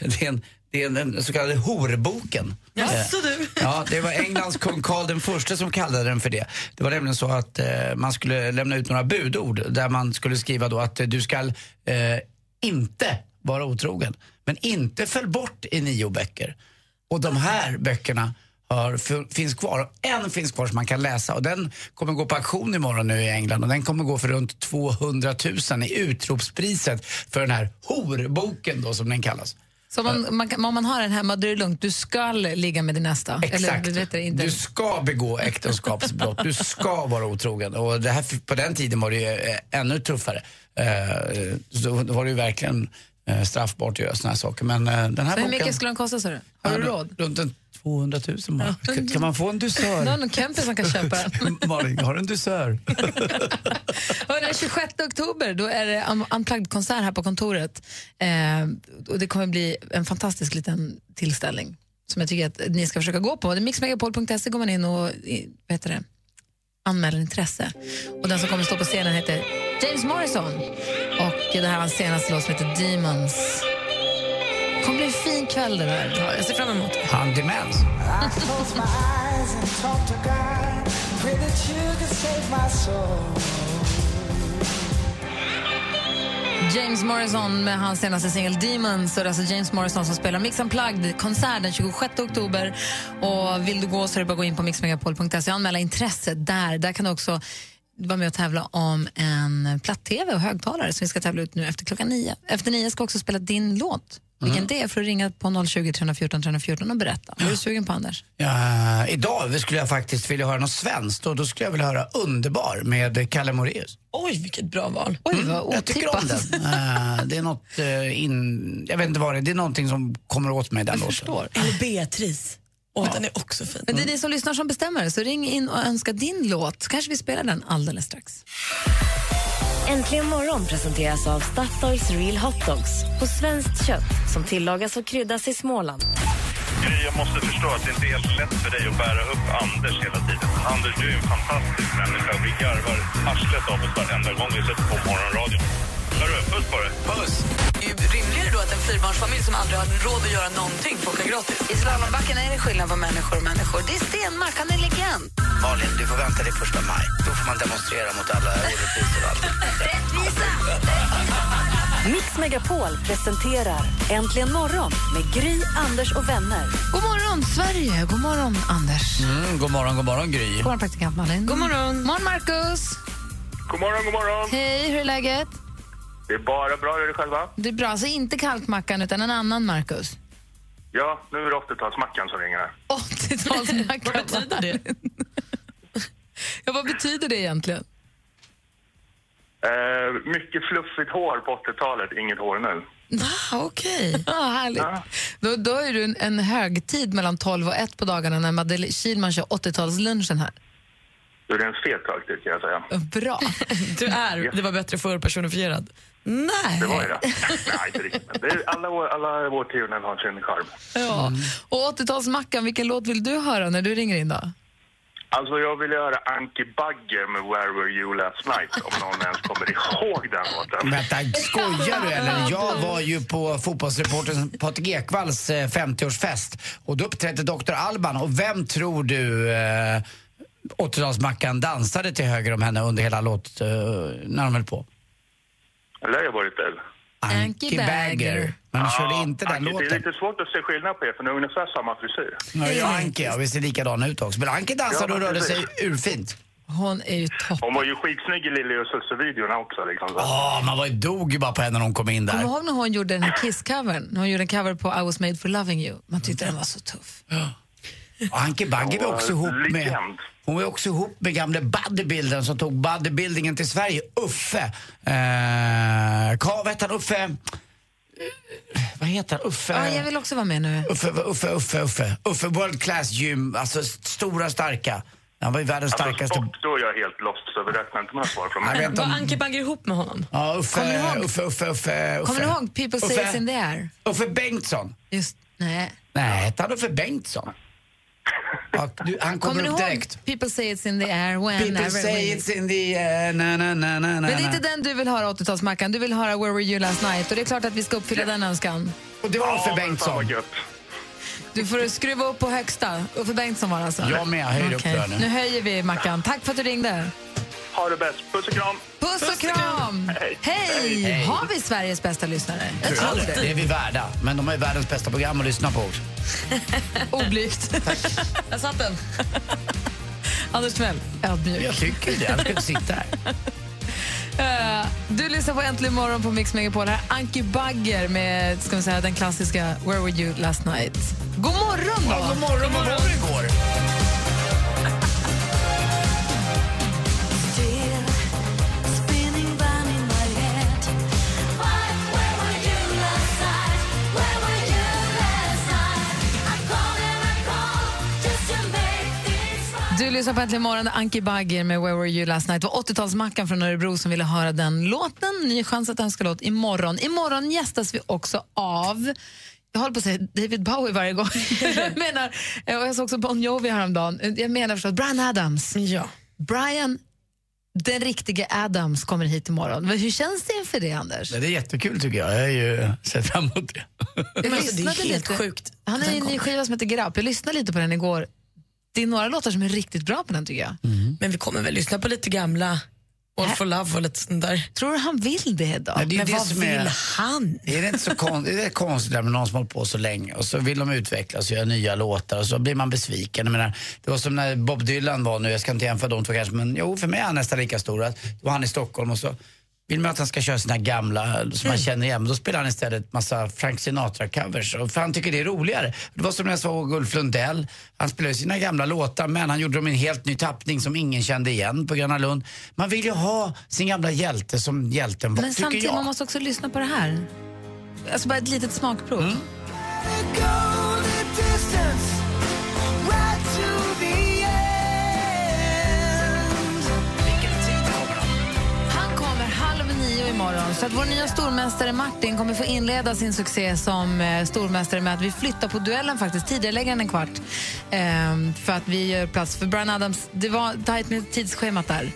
Speaker 8: det är en, det är en, en så kallad horboken.
Speaker 6: Jaså,
Speaker 8: Eh,
Speaker 6: du?
Speaker 8: Ja, det var Englands kung Karl den förste som kallade den för det. Det var nämligen så att eh, man skulle lämna ut några budord där man skulle skriva då att eh, du ska eh, inte vara otrogen. Men inte föll bort i nio böcker. Och de här böckerna har, f- finns kvar. Och En finns kvar som man kan läsa och den kommer gå på auktion imorgon nu i England och den kommer gå för runt 200 000 i utropspriset för den här horboken då som den kallas.
Speaker 4: Så om man, man, kan- om man har den hemma, då är det lugnt. Du ska ligga med din nästa.
Speaker 8: Exakt.
Speaker 4: Eller, vet du, inte.
Speaker 8: Du ska begå äktenskapsbrott, du ska vara otrogen. Och det här, på den tiden var det ju eh, ännu tuffare. Eh, så då var det ju verkligen eh, straffbart att göra såna här saker. Men eh, den här
Speaker 4: Så hur
Speaker 8: boken...
Speaker 4: mycket skulle den kosta, sa du? Har du råd?
Speaker 8: Runt en 200 000 bara. Kan- Kan man få en dusör?
Speaker 4: Du har någon kompis som kan köpa den.
Speaker 8: Malin, har du en dusör?
Speaker 4: Hörru, Den 26 oktober då är det en Unplugged-konsert här på kontoret. Eh, och Det kommer bli en fantastisk liten tillställning som jag tycker att ni ska försöka gå på. Det är Mixmegapol.se går man in och i- vad heter det, anmäler intresse. Och Den som kommer stå på scenen heter James Morrison. Och Det här är hans senaste låt som heter Demons. Det kommer bli en fin kväll det där. jag ser fram emot det.
Speaker 8: Han demens.
Speaker 4: James Morrison med hans senaste singel Demons. Och det är alltså James Morrison som spelar Mix Unplugged-konsert den 26 oktober. Och vill du gå så är det bara att gå in på mixmegapol.se och anmäla intresse där. Där kan du också vara med och tävla om en platt-tv och högtalare som vi ska tävla ut nu efter klockan nio. Efter nio ska vi också spela din låt. Vilken
Speaker 8: Mm.
Speaker 4: det är för att ringa på 020 314 314 och berätta. Vad är du sugen på, Anders?
Speaker 8: Ja, idag skulle jag faktiskt vilja höra något svenskt och då skulle jag vilja höra Underbar med Kalle Moraeus.
Speaker 6: Oj, vilket bra val.
Speaker 4: Oj, vad
Speaker 8: Jag tycker om den. Eh, det är något eh, in... Jag vet inte vad det är. Det är någonting som kommer åt mig i den låten.
Speaker 6: Eller Beatrice. Åh, Den är också fin.
Speaker 4: Men det är ni som lyssnar som bestämmer, så ring in och önska din låt. Så kanske vi spelar den alldeles strax.
Speaker 3: Äntligen morgon presenteras av Statoils Real Hot Dogs på svenskt kött som tillagas och kryddas i Småland.
Speaker 17: Gry, jag måste förstå att det inte är helt lätt för dig att bära upp Anders hela tiden. Anders, du är en fantastisk människa. Vi garvar arslet av oss varenda gång vi sätter på morgonradion. Hörru, puss på dig. Puss!
Speaker 6: Det är ju rimligare då att en fyrbarnsfamilj som aldrig har råd att göra någonting får åka gratis.
Speaker 4: I slalombacken är det skillnad på människor och människor. Det är Stenmark, han är legend.
Speaker 8: Malin, du får vänta till första maj. Då får man demonstrera mot alla orättvisor och allt.
Speaker 3: Mix Megapol presenterar Äntligen morgon med Gry, Anders och vänner.
Speaker 4: God morgon, Sverige! God morgon, Anders.
Speaker 8: Mm, god morgon, god morgon Gry.
Speaker 4: God morgon, praktikant Malin. God morgon. morgon, Marcus.
Speaker 17: God morgon, god morgon.
Speaker 4: Hej, hur är läget?
Speaker 17: Det är bara bra. Hur är det själva?
Speaker 4: Det är bra, alltså inte kalkmackan utan en annan Marcus.
Speaker 17: Ja, nu är det 80-talsmackan som ringer här.
Speaker 4: 80-talsmackan. vad betyder det? ja, vad betyder det egentligen?
Speaker 17: Eh, mycket fluffigt hår på 80-talet, inget hår nu.
Speaker 4: Ah, Okej. Ja, härligt. Då, då är du en, en högtid mellan 12 och 1 på dagarna när Madeleine Kilman kör 80-talslunchen här.
Speaker 17: Du är en fet högtid kan jag säga.
Speaker 4: Bra.
Speaker 6: Du är Det var bättre förr personifierad. Nej.
Speaker 17: Det var ju det. Nej, inte riktigt. Men det är alla, år- alla årtionden har sin charm.
Speaker 4: Ja. Och 80-talsmackan, vilken låt vill du höra när du ringer in då?
Speaker 17: Alltså jag vill göra Anki Bagge med Where Were You Last Night om någon ens kommer ihåg den låten.
Speaker 8: Vänta, skojar du eller? Jag var ju på fotbollsreportern Patrik Ekwalls eh, 50-årsfest och då uppträdde Dr. Alban och vem tror du eh, 80-talsmackan dansade till höger om henne under hela låt, eh, när de höll på?
Speaker 17: Eller har jag varit där?
Speaker 4: Anki Bagger.
Speaker 8: Men han körde inte den
Speaker 17: Anki, Det
Speaker 8: låten.
Speaker 17: är lite svårt att se skillnad på er, för ni har ungefär samma frisyr.
Speaker 8: Ja, jag och Anki, ja, vi ser likadana ut också. Men Anki dansade och rörde sig urfint.
Speaker 4: Hon är ju toppen.
Speaker 17: Hon var ju skitsnygg i Lili och Susse-videorna också. Liksom.
Speaker 8: Ja, Ah, man var ju dog ju bara på henne när hon kom in
Speaker 4: Kommer
Speaker 8: där.
Speaker 4: du ihåg när hon gjorde den här Kiss-covern? När hon gjorde en cover på I was made for loving you. Man tyckte den var så tuff.
Speaker 8: Och Anki Bagger var också ihop med... Hon var också ihop med gamle bodybuildern som tog bodybuildingen till Sverige, Uffe. Eh, Ka- vad heter han? Uffe... Eh, Vad heter han? Uffe...
Speaker 4: Ja, jag vill också vara med nu.
Speaker 8: Uffe, Uffe, Uffe, Uffe. Uffe World Class Gym, alltså st- stora starka. Han var ju världens starkaste.
Speaker 17: Sport, Alltså, då är jag helt lost, så vi räknar inte några svar från
Speaker 8: Jag
Speaker 17: mig.
Speaker 8: vet inte om-
Speaker 6: Var Anki Bagger ihop med honom?
Speaker 8: Ja, Uffe,
Speaker 6: Kommer du
Speaker 8: Uffe,
Speaker 6: ihåg?
Speaker 8: Uffe, Uffe, Uffe.
Speaker 4: Kommer du ihåg People say
Speaker 8: Uffe-
Speaker 4: it's in the air?
Speaker 8: Uffe Bengtsson.
Speaker 4: Just, nej.
Speaker 8: Nej, hette han Uffe Bengtsson? Ja, du, han kommer,
Speaker 4: Kommer du
Speaker 8: upp
Speaker 4: ihåg
Speaker 8: direkt.
Speaker 4: People say it's in the air whenever
Speaker 8: People say
Speaker 4: when-
Speaker 8: it's in the air, na na na na na
Speaker 4: Men det är
Speaker 8: na.
Speaker 4: inte den du vill höra, 80-talsmackan. Du vill höra Where were you last night? Och det är klart att vi ska uppfylla den önskan.
Speaker 8: Och det var Uffe Bengtsson.
Speaker 4: Du får skruva upp på högsta. Uffe Bengtsson var det alltså.
Speaker 8: Jag med, jag höjer
Speaker 4: Okej.
Speaker 8: upp lönen.
Speaker 4: Nu höjer vi Mackan. Tack för att du ringde.
Speaker 17: Ha det bäst. Puss och kram!
Speaker 4: Puss och kram! Hej!
Speaker 8: Hej.
Speaker 4: Har vi Sveriges bästa lyssnare? Jag tror det.
Speaker 8: Det är vi värda. Men de har ju världens bästa program att lyssna på också.
Speaker 4: Oblygt. Där satt den. Anders Timell,
Speaker 8: Jag
Speaker 4: ödmjuk.
Speaker 8: tycker ju det. Han ska inte sitta här.
Speaker 4: Eh, du lyssnar på Äntligen morgon på Mix Megapol. Här är Anki Bagger med ska vi säga, den klassiska Where were you last night? God morgon då!
Speaker 8: Ja, god morgon. Vad var det igår?
Speaker 4: Du lyssnar på Äntligen morgon, Anki Bagger med Where were you last night? Det var 80-talsmackan från Örebro som ville höra den låten. Ny chans att önska låt imorgon. Imorgon gästas vi också av jag håller på att säga David Bowie varje gång. jag, menar, eh, och jag såg också Bon Jovi häromdagen. Eh, Jag menar förstås Brian Adams. Ja. Brian, den riktige Adams, kommer hit imorgon. Men Hur känns det inför det, Anders?
Speaker 8: Det är jättekul tycker jag. Jag har ju sett fram emot det.
Speaker 4: Jag
Speaker 6: Men alltså, det är
Speaker 4: lyssnade
Speaker 6: helt sjukt
Speaker 4: Han har
Speaker 6: att
Speaker 4: ju en
Speaker 6: den
Speaker 4: ny
Speaker 6: kommer.
Speaker 4: skiva som heter Grapp. Jag lyssnade lite på den igår. Det är några låtar som är riktigt bra på den tycker jag.
Speaker 6: Men vi kommer väl lyssna på lite gamla All for love och lite sånt där.
Speaker 4: Tror du han vill det då?
Speaker 8: Nej, det är ju
Speaker 6: Men
Speaker 8: det
Speaker 6: vad
Speaker 8: som
Speaker 6: vill
Speaker 8: är-
Speaker 6: han?
Speaker 8: Är det inte så konstigt, det är konstigt där med någon som hållit på så länge och så vill de utvecklas och göra nya låtar och så blir man besviken. Jag menar, det var som när Bob Dylan var nu, jag ska inte jämföra de två kanske, men jo för mig är han nästan lika stor. Att Då var han i Stockholm och så vill man att han ska köra sina gamla som
Speaker 4: Mm.
Speaker 8: man känner igen, men då spelar han istället massa Frank Sinatra-covers. och- För han tycker det är roligare. Det var som när jag såg Ulf Lundell, han spelade sina gamla låtar men han gjorde dem i en helt ny tappning som ingen kände igen på Gröna Lund. Man vill ju ha sin gamla hjälte som hjälten var,
Speaker 4: Men
Speaker 8: tycker
Speaker 4: samtidigt,
Speaker 8: jag.
Speaker 4: man måste också lyssna på det här. Alltså bara ett litet smakprov.
Speaker 8: Mm.
Speaker 4: Han kommer halv nio imorgon. Så att vår nya stormästare Martin kommer få inleda sin succé som eh, stormästare med att vi flyttar på duellen faktiskt, tidigareläggaren en kvart. Ehm, för att vi gör plats för Brian Adams. Det var tajt med tidsschemat där.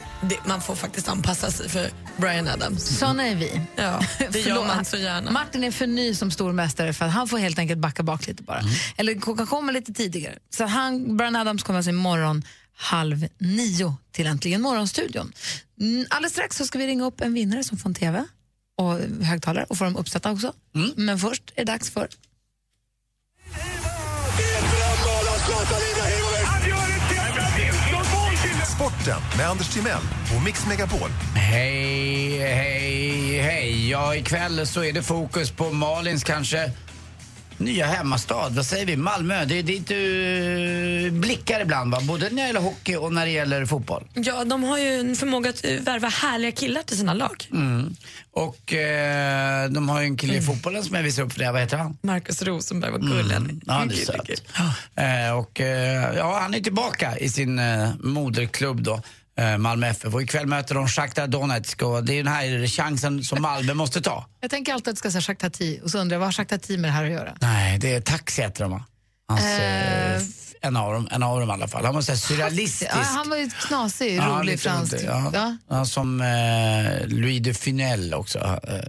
Speaker 6: man får faktiskt anpassa sig för Brian Adams.
Speaker 8: Mm.
Speaker 4: Såna är vi.
Speaker 6: Ja, det gör
Speaker 4: Förlåt.
Speaker 6: man så gärna.
Speaker 4: Martin är för ny som stormästare för att han får helt enkelt backa bak lite bara.
Speaker 8: Mm.
Speaker 4: Eller koka komma lite tidigare. Så han, Brian Adams kommer alltså imorgon halv nio till Äntligen Morgonstudion. Mm, Alldeles strax så ska vi ringa upp en vinnare som får en TV och högtalare och få dem uppsatta också.
Speaker 8: Mm.
Speaker 4: Men först är det dags för...
Speaker 20: Sporten med Anders Timell och Mix Megapol.
Speaker 8: Hej, hej, hej. Ja, ikväll så är det fokus på Malins kanske nya hemmastad. Vad säger vi? Malmö. Det är dit du eh, blickar ibland, va? Både när det gäller hockey och när det gäller fotboll.
Speaker 6: Ja, de har ju en förmåga att eh, värva härliga killar till sina lag.
Speaker 8: Mm. Och eh, de har ju en kille i fotbollen som jag visar upp för dig. Vad heter han?
Speaker 6: Marcus Rosenberg, vad gullig han
Speaker 8: Mm. Ja, han är söt. Eh, och, eh, ja, han är tillbaka i sin eh, moderklubb då. eh, Malmö FF och ikväll möter de Shakhtar Donetsk och det är den här chansen som Malmö måste ta.
Speaker 4: Jag tänker alltid att det ska säga Jacques Tati och så undrar jag vad har Jacques Tati med det här att göra?
Speaker 8: Nej, det är Taxi heter de va? Hans, eh, f- en, av dem, en av dem i alla fall. Han var så här surrealistisk.
Speaker 4: Ja, han var ju knasig,
Speaker 8: Ja,
Speaker 4: rolig,
Speaker 8: lite
Speaker 4: fransk. typ.
Speaker 8: rolig, ja.
Speaker 4: Ja.
Speaker 8: Ja, som eh, Louis de Funel också.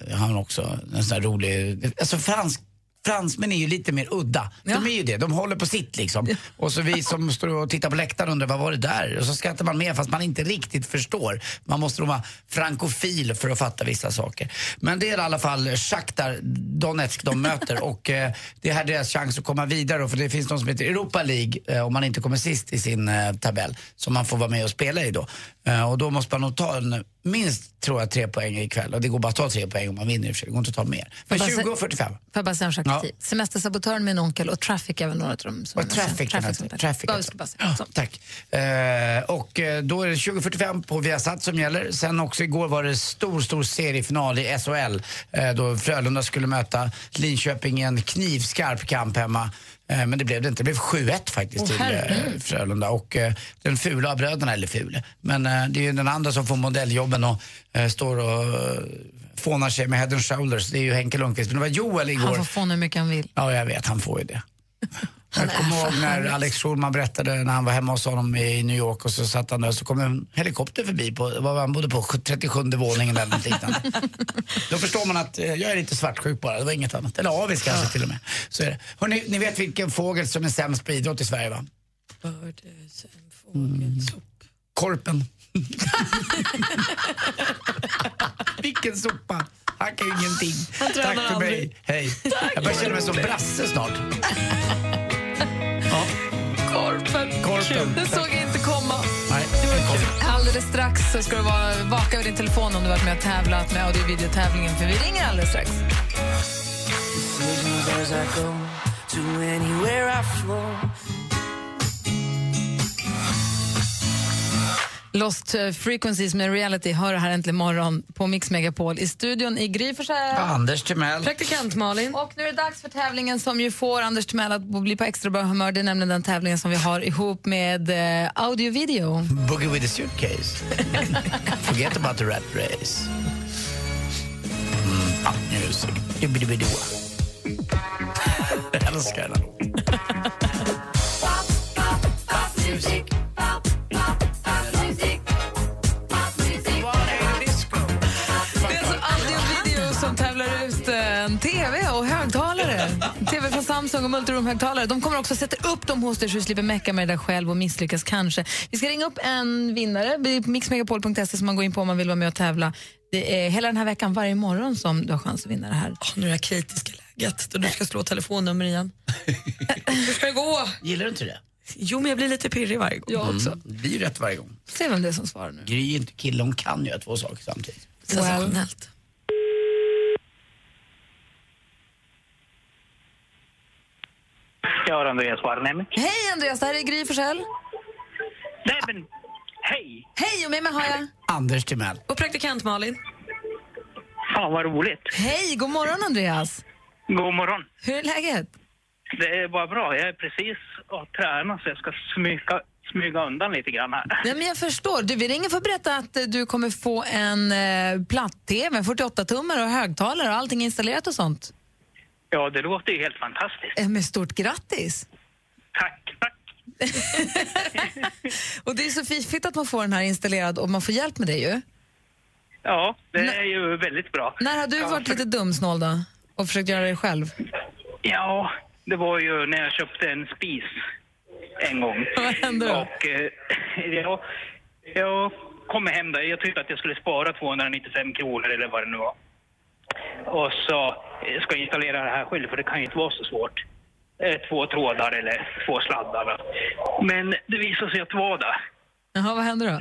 Speaker 8: Eh, han också. En sån här rolig, alltså fransk fransmän är ju lite mer udda. De är ju det, de håller på sitt liksom. Och så vi som står och tittar på läktaren undrar vad var det där? Och så skrattar man med fast man inte riktigt förstår. Man måste nog vara frankofil för att fatta vissa saker. Men det är i alla fall Shakhtar Donetsk de möter och eh, det är här deras chans att komma vidare då, för det finns något som heter Europa League eh, om man inte kommer sist i sin eh, tabell som man får vara med och spela i då. Eh, och då måste man nog ta en, minst tror jag tre poäng ikväll och det går bara att ta tre poäng om man vinner i och för sig. Det går inte att ta mer. Men
Speaker 4: Får jag bara
Speaker 8: 20 och 45.
Speaker 4: Får jag bara säga en sak
Speaker 8: Ja.
Speaker 4: till? Semestersabotören min onkel och Traffic är väl några av dem som... liksom-
Speaker 8: Och Traffic,
Speaker 4: Traffic,
Speaker 8: alltså.
Speaker 4: traffic.
Speaker 8: Traffic,
Speaker 4: Bara, jag
Speaker 8: alltså.
Speaker 4: ska bara säga. Så.
Speaker 8: Tack. Eh, och eh, då är det 20.45 på Viasat som gäller. Sen också igår var det stor, stor seriefinal i SHL eh, då Frölunda skulle möta Linköping i en knivskarp kamp hemma. Eh, men det blev det inte. Det blev 7-1 faktiskt
Speaker 21: Åh,
Speaker 8: till eh,
Speaker 21: herregud.
Speaker 8: Frölunda. Och eh, den fula av bröderna, eller ful, men eh, det är ju den andra som får modelljobben och eh, står och eh, fånar sig med head and shoulders. Det är ju Henke Lundqvist. Men det var Joel igår.
Speaker 4: Han får få hur mycket han vill.
Speaker 8: Ja, jag vet. Han får ju det. Jag kommer ihåg när Alex Schulman berättade när han var hemma hos honom i New York och så satt han där och så kom en helikopter förbi på, vad var han bodde på, 37 våningen eller något liknande. Då förstår man att eh, jag är lite svartsjuk bara, det var inget annat. Eller avis kanske till och med. Så är det. Hörrni, ni vet vilken fågel som är sämst på idrott i Sverige va? Mm. Korpen. Vilken sopa! Han kan ju ingenting.
Speaker 21: Han tränar
Speaker 8: Tack för
Speaker 21: aldrig.
Speaker 8: mig. Hej. Jag börjar känna mig som Brasse snart.
Speaker 4: Korpen.
Speaker 8: Korpen.
Speaker 4: Det såg jag inte komma.
Speaker 8: Nej,
Speaker 4: Alldeles strax så ska du vara vaka över din telefon om du varit med och tävlat med audiovideotävlingen för vi ringer alldeles strax.
Speaker 21: Decisions as I go to anywhere I flow.
Speaker 4: Lost eh, Frequencies med Reality hör det här äntligen morgon på Mix Megapol i studion i Gry Forssell.
Speaker 8: Anders Timell.
Speaker 4: Praktikant Malin. Och nu är det dags för tävlingen som ju får Anders Timell att bli på extra bra humör. Det är nämligen den tävlingen som vi har ihop med eh, Audio Video.
Speaker 8: Boogie with a suitcase. Forget about the rat race. Mm, ah, music. Dubbidubbidoa. Jag älskar den här låten.
Speaker 4: Det är alltså Audio Video som tävlar ut eh, en TV och högtalare. TV från Samsung och multiroom-högtalare. De kommer också sätta upp dem hos dig så du slipper mecka med det där själv och misslyckas kanske. Vi ska ringa upp en vinnare. Det är mixmegapol.se som man går in på om man vill vara med och tävla. Det är hela den här veckan, varje morgon, som du har chans att vinna det här.
Speaker 6: nu är det här kritiska läget då du ska slå telefonnummer igen. Hur ska det gå?
Speaker 8: Gillar du inte det?
Speaker 6: Jo, men jag blir lite pirrig varje gång.
Speaker 8: Mm, Det blir ju rätt varje gång.
Speaker 4: Se vem det är som svarar nu.
Speaker 8: Gry är inte kille, hon kan göra två saker samtidigt.
Speaker 6: Sensationellt.
Speaker 9: Jag har Andreas Warnem.
Speaker 4: Hej Andreas, det här är Gry Forssell.
Speaker 9: Hej!
Speaker 4: Hej, och med mig har jag...
Speaker 8: Anders Timell.
Speaker 6: Och praktikant Malin.
Speaker 9: Fan vad roligt.
Speaker 4: Hej, god morgon Andreas.
Speaker 9: God morgon.
Speaker 4: Hur är läget?
Speaker 9: Det är bara bra. Jag är precis och tränar så jag ska smyga, smyga undan lite grann här.
Speaker 4: Nej, men jag förstår. Du, vi ringer för att berätta att eh, du kommer få en eh, platt-tv, 48-tummar och högtalare och allting installerat och sånt.
Speaker 9: Ja, det låter ju helt fantastiskt.
Speaker 4: Eh, Med stort grattis!
Speaker 9: Tack,
Speaker 4: tack! och det är så fiffigt att man får den här installerad och man får hjälp med det ju.
Speaker 9: Ja, det är ju väldigt bra.
Speaker 4: När har du
Speaker 9: ja,
Speaker 4: varit
Speaker 9: för-
Speaker 4: lite dumsnål då? Och försökt göra det själv?
Speaker 9: Ja, det var ju när jag köpte en spis en gång.
Speaker 4: Vad hände då?
Speaker 9: Och eh, jag, jag kom hem där. Jag tyckte att jag skulle spara 295 kronor eller vad det nu var. Och så eh, ska jag installera det här själv för det kan ju inte vara så svårt. Eh, Två trådar eller två sladdar. va. Men det visade sig att det var det.
Speaker 4: Jaha, vad händer då?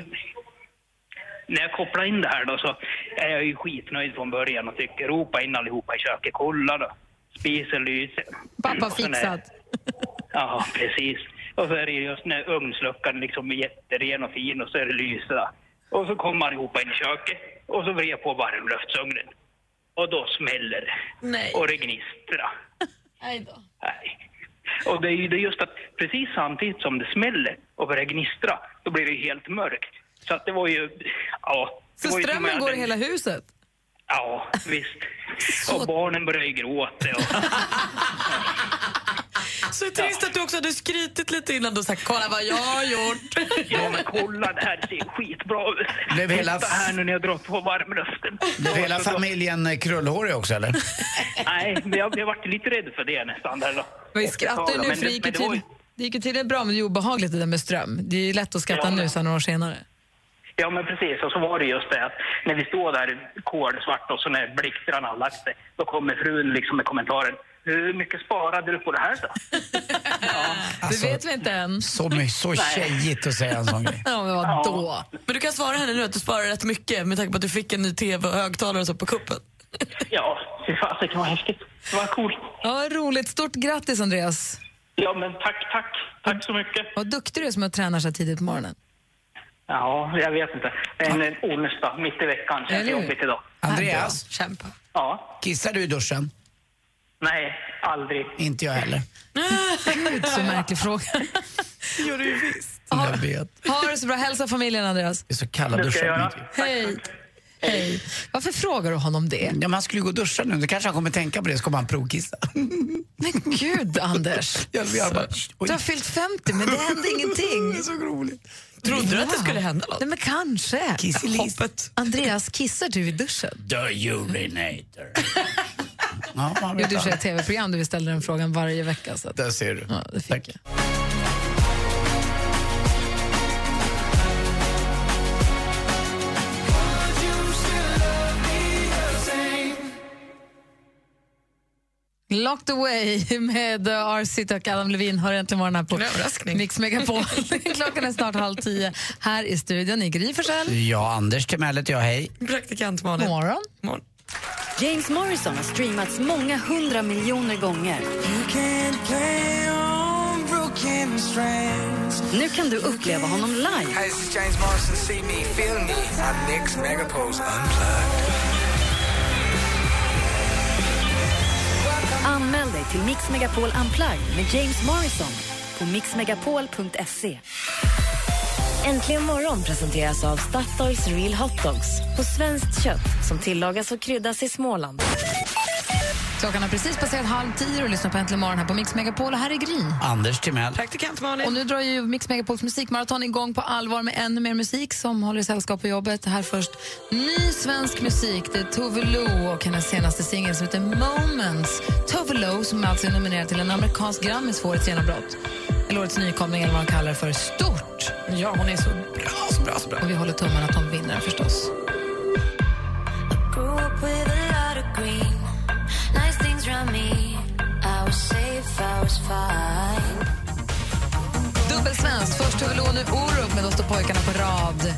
Speaker 9: När jag kopplar in det här då så är jag ju skitnöjd från början och tycker ropa in allihopa i köket, kolla då. Spisen lyser.
Speaker 4: Pappa
Speaker 9: Och sen är-
Speaker 4: fixat.
Speaker 9: Ja, precis. Och så är det just när ugnsluckan liksom är jätteren och fin och så är det lysa. Och så kommer allihopa in i köket och så vrider jag på varmluftsugnen. Och då smäller det.
Speaker 4: Nej.
Speaker 9: Och det gnistrar.
Speaker 4: Nej då.
Speaker 9: Och det är ju det är just att precis samtidigt som det smäller och börjar gnistra, då blir det ju helt mörkt. Så att det var ju, ja. det
Speaker 4: Så
Speaker 9: var ju som
Speaker 4: strömmen
Speaker 9: att-
Speaker 4: går i hela huset?
Speaker 9: Ja, visst. Och barnen börjar ju gråta. Och...
Speaker 6: Så det är trist att du också hade skrytit lite innan du sa kolla vad jag har gjort.
Speaker 9: Ja, men kolla, det här ser skitbra ut.
Speaker 8: Blev hela-
Speaker 9: Titta här nu när jag drar på varmrösten.
Speaker 8: Blev hela familjen eh, krullhårig också eller?
Speaker 9: Nej, men jag, jag vart lite rädd för det nästan. Där då.
Speaker 4: Vi skrattar ju nu för det gick ju
Speaker 9: var
Speaker 4: till, det gick ju till det bra men det är obehagligt det där med ström. Det är ju lätt att skratta
Speaker 9: Ja.
Speaker 4: nu så här några år senare.
Speaker 9: Ja, men precis. Och så var det just det att när vi står där kolsvart och så när blixtarna har lagt sig, då kommer frun liksom med kommentaren. Hur mycket sparade du på det här då?
Speaker 8: Alltså,
Speaker 4: det vet vi inte än.
Speaker 8: Så, my- så
Speaker 6: Nej.
Speaker 8: tjejigt att säga en sån grej.
Speaker 4: Ja, men vadå?
Speaker 6: Men du kan svara henne nu att du sparar rätt mycket med tanke på att du fick en ny TV och högtalare och så på kuppen.
Speaker 9: Ja, fy fasiken vad häftigt. Vad coolt.
Speaker 4: Ja, vad roligt. Stort grattis Andreas.
Speaker 9: Ja, men tack, tack. Tack så mycket.
Speaker 4: Vad duktig du är som att träna så här tidigt på morgonen.
Speaker 9: Ja, jag vet inte. En en onsdag mitt i veckan känns
Speaker 8: Eller
Speaker 9: det
Speaker 8: hur?
Speaker 9: jobbigt idag.
Speaker 8: Andreas?
Speaker 4: Kämpa.
Speaker 9: Ja.
Speaker 8: Kissar du i duschen?
Speaker 9: Nej, aldrig.
Speaker 8: Inte jag heller.
Speaker 4: Gud, så märklig fråga.
Speaker 6: Jo, det är visst.
Speaker 8: Jag vet.
Speaker 4: Ha det så bra. Hälsa familjen Andreas.
Speaker 8: Det är så kalla
Speaker 4: Det ska jag
Speaker 8: duschar.
Speaker 4: göra. Hej. Hej. Varför frågar du honom det?
Speaker 8: Ja, men han skulle ju gå och duscha nu. Då kanske han kommer tänka på det, så kommer han provkissa.
Speaker 4: Men gud, Anders.
Speaker 8: Jag vet bara,
Speaker 4: Du har fyllt 50, men det hände ingenting. Det är så roligt.
Speaker 6: Trodde du att det skulle hända något?
Speaker 4: Nej, men kanske.
Speaker 8: Kissilis.
Speaker 6: Hoppet.
Speaker 4: Andreas, kissar du i duschen?
Speaker 8: The urinator. ja, man
Speaker 4: Jo,
Speaker 8: vet
Speaker 4: du kör
Speaker 8: aldrig.
Speaker 4: ett tv-program där vi ställer den frågan varje vecka. Så att...
Speaker 8: Där ser du.
Speaker 4: Ja, det fick jag. Locked away med eh, RC och Adam Levin hör äntligen morgon här på Mix Megapol. Klockan är snart halv tio. Här i studion i Gry Forssell.
Speaker 8: Ja, Anders Timell heter jag, hej.
Speaker 6: Praktikant Malin.
Speaker 4: Morgon.
Speaker 3: James Morrison har streamats många hundra miljoner gånger. Nu kan du uppleva honom live.
Speaker 22: Hi, this is James Morrison. See me, feel me on Mix Megapol's Unplugged.
Speaker 3: Anmäl dig till Mix Megapol Unplugged med James Morrison på mixmegapol.se. Äntligen morgon presenteras av Statoils Real Hot Dogs på svenskt kött som tillagas och kryddas i Småland.
Speaker 4: Klockan har precis passerat halv tio och lyssnar på Äntligen morgon här på Mix Megapol. Och här är Gry.
Speaker 8: Anders Timell.
Speaker 6: Praktikant Malin.
Speaker 4: Och nu drar ju Mix Megapols musikmaraton igång på allvar med ännu mer musik som håller sällskap på jobbet. Här först ny svensk musik. Det är Tove Lo och hennes senaste singel som heter Moments. Tove Lo som alltså är nominerad till en amerikansk Grammis för årets genombrott. Eller årets nykomling eller vad man kallar det för. Stort!
Speaker 6: Ja, hon är så bra, så bra, så bra.
Speaker 4: Och vi håller tummarna att hon vinner förstås.
Speaker 23: Grew up with a lot of green, nice things around me. I was safe, I was fine.
Speaker 4: Dubbelsvenskt. Först Tove Lo, nu Orup med Då står pojkarna på rad.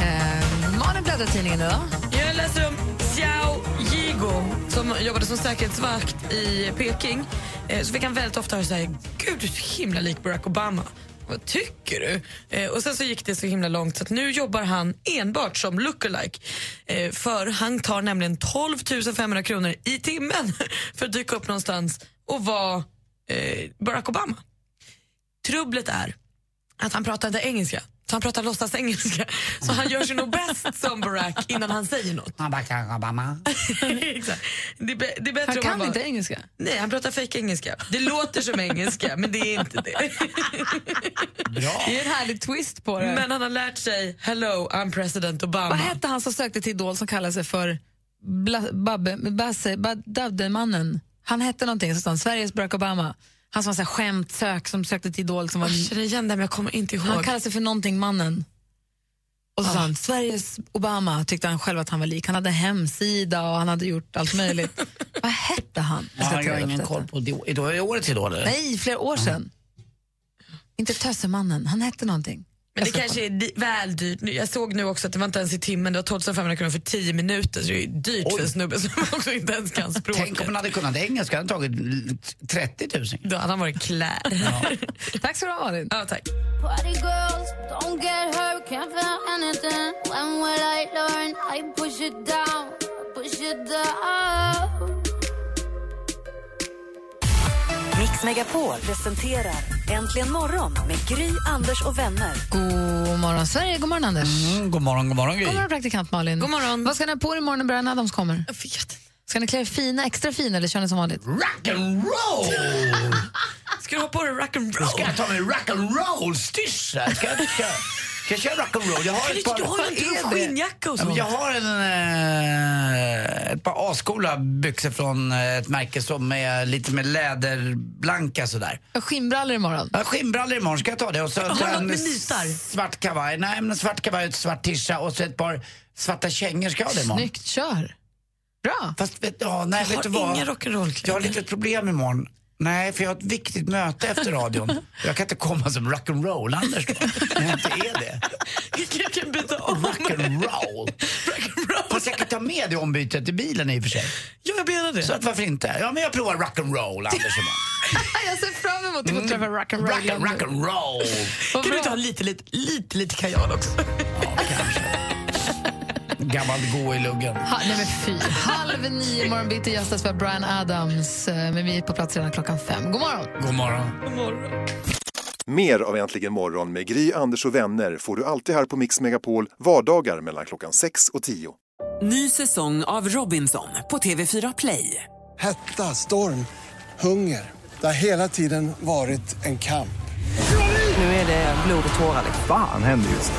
Speaker 4: Eh, Malin bläddrar i tidningen idag.
Speaker 6: Jag läser om Xiao Jigo som jobbade som säkerhetsvakt i Peking. Eh, Så fick han väldigt ofta höra så här, gud du är så himla lik Barack Obama. Vad tycker du? Eh, Och sen så gick det så himla långt så att nu jobbar han enbart som lookalike. Eh, För han tar nämligen 12 500 kronor i timmen för att dyka upp någonstans och vara eh, Barack Obama. Trubblet är att han pratar inte engelska. Så han pratar låtsas engelska. Så han gör sig nog bäst som Barack innan han säger något.
Speaker 8: Han bara kanske bara, "Ma."
Speaker 6: Exakt. det, är bä- det är bättre
Speaker 4: Han
Speaker 6: om
Speaker 4: kan
Speaker 6: bara-
Speaker 4: inte engelska.
Speaker 6: Nej, han pratar fake engelska. Det låter som engelska, men det är inte det.
Speaker 4: Det är en härlig twist på det.
Speaker 6: Men han har lärt sig “Hello, I'm president Obama”.
Speaker 4: Vad hette han som sökte till Idol som kallade sig för Bla- Babbe- Basse- Ba- Daddelmannen? Han hette någonting, så stod han, Sveriges Barack Obama. Han som var så här skämtsök som sökte till Idol. Som var,
Speaker 6: Jag känner igen det, men jag kommer inte ihåg.
Speaker 4: han kallade sig för någonting mannen. Och så sa han Sveriges Obama, tyckte han själv att han var lik. Han hade hemsida och han hade gjort allt möjligt. Vad hette han?
Speaker 8: Ja, jag har ingen koll på det. Är det årets idol? eller?
Speaker 4: Nej, flera år sedan. Inte Tössemannen, han hette någonting.
Speaker 6: Men det kanske är di- väl dyrt. Nu- Jag såg nu också att det var inte ens i timmen, det var 2500 kronor för 10 minuter. Så det är ju dyrt för en snubbe som också inte ens kan språket.
Speaker 8: Tänk om han hade kunnat engelska, han hade tagit 30 000.
Speaker 6: Då hade han varit klär.
Speaker 4: Tack så du ha, Malin.
Speaker 6: Ja, tack.
Speaker 23: Party girls, don't get hurt, can't feel anything. When will I learn? I push it down, push it down.
Speaker 3: Mix Megapol presenterar Äntligen morgon med Gry, Anders och vänner.
Speaker 4: God morgon Sverige, god morgon Anders.
Speaker 8: Mm, god morgon, god morgon Gry.
Speaker 4: God morgon praktikant Malin. God morgon. Vad ska ni ha på er imorgon när Bröderna Adams kommer?
Speaker 6: Jag vet
Speaker 4: Ska ni klä er fina, extra fina eller kör ni som vanligt?
Speaker 8: Rock'n'roll!
Speaker 24: Ska du ha på dig rock'n'roll?
Speaker 8: Ska jag ta mig rock'n'roll-styrsel? Ska jag- ska jag- Kanske jag rock'n'roll? Jag har
Speaker 24: Kan
Speaker 8: ett
Speaker 24: du-
Speaker 8: par...
Speaker 24: du har ju inte
Speaker 8: Vad är
Speaker 24: någon
Speaker 8: det?
Speaker 24: skinnjacka och
Speaker 8: Ja,
Speaker 24: sånt.
Speaker 8: men Jag har en, eh, ett par ascoola byxor från eh, ett märke som är lite med läderblanka sådär.
Speaker 4: Skinnbrallor imorgon.
Speaker 8: Ja, skinnbrallor imorgon ska jag ta det. Och så
Speaker 4: Har
Speaker 8: så
Speaker 4: du något
Speaker 8: en
Speaker 4: med nitar?
Speaker 8: svart kavaj. Nej, men en svart kavaj och ett svart tisha och så ett par svarta kängor ska jag ha det imorgon.
Speaker 4: Snyggt, kör. Bra.
Speaker 8: Fast vet, ja, nej,
Speaker 4: Jag
Speaker 8: vet
Speaker 4: har
Speaker 8: du vad?
Speaker 4: inga
Speaker 8: Jag har lite ett problem imorgon. Nej, för jag har ett viktigt möte efter radion. Jag kan inte komma som rock'n'roll-Anders då, när jag inte är det.
Speaker 24: Jag kan byta om.
Speaker 8: Rock'n'roll. Fast jag kan ta med det ombytet i bilen i och för sig.
Speaker 24: Ja, jag menar det.
Speaker 8: Så att varför inte? Ja, men jag provar rock'n'roll, Anders, imorgon.
Speaker 4: jag ser fram emot att få träffa rock'n'roll.
Speaker 8: Mm. Rock- Rock'n'roll.
Speaker 24: Kan du inte ha lite, lite, lite, lite kajal också?
Speaker 8: Gammalt gå i luggen.
Speaker 4: Ha, nej men fy. Halv nio imorgon bitti gästas vi av Brian Adams. eh, Men vi är på plats redan klockan fem. God morgon.
Speaker 8: God morgon.
Speaker 5: Mer av Äntligen morgon med Gry, Anders och vänner får du alltid här på Mix Megapol vardagar mellan klockan 6 och 10.
Speaker 6: Ny säsong av Robinson på TV4 Play.
Speaker 12: Hetta, storm, hunger. Det har hela tiden varit en kamp.
Speaker 6: Nu är det blod och tårar. liksom.
Speaker 25: Fan händer just nu.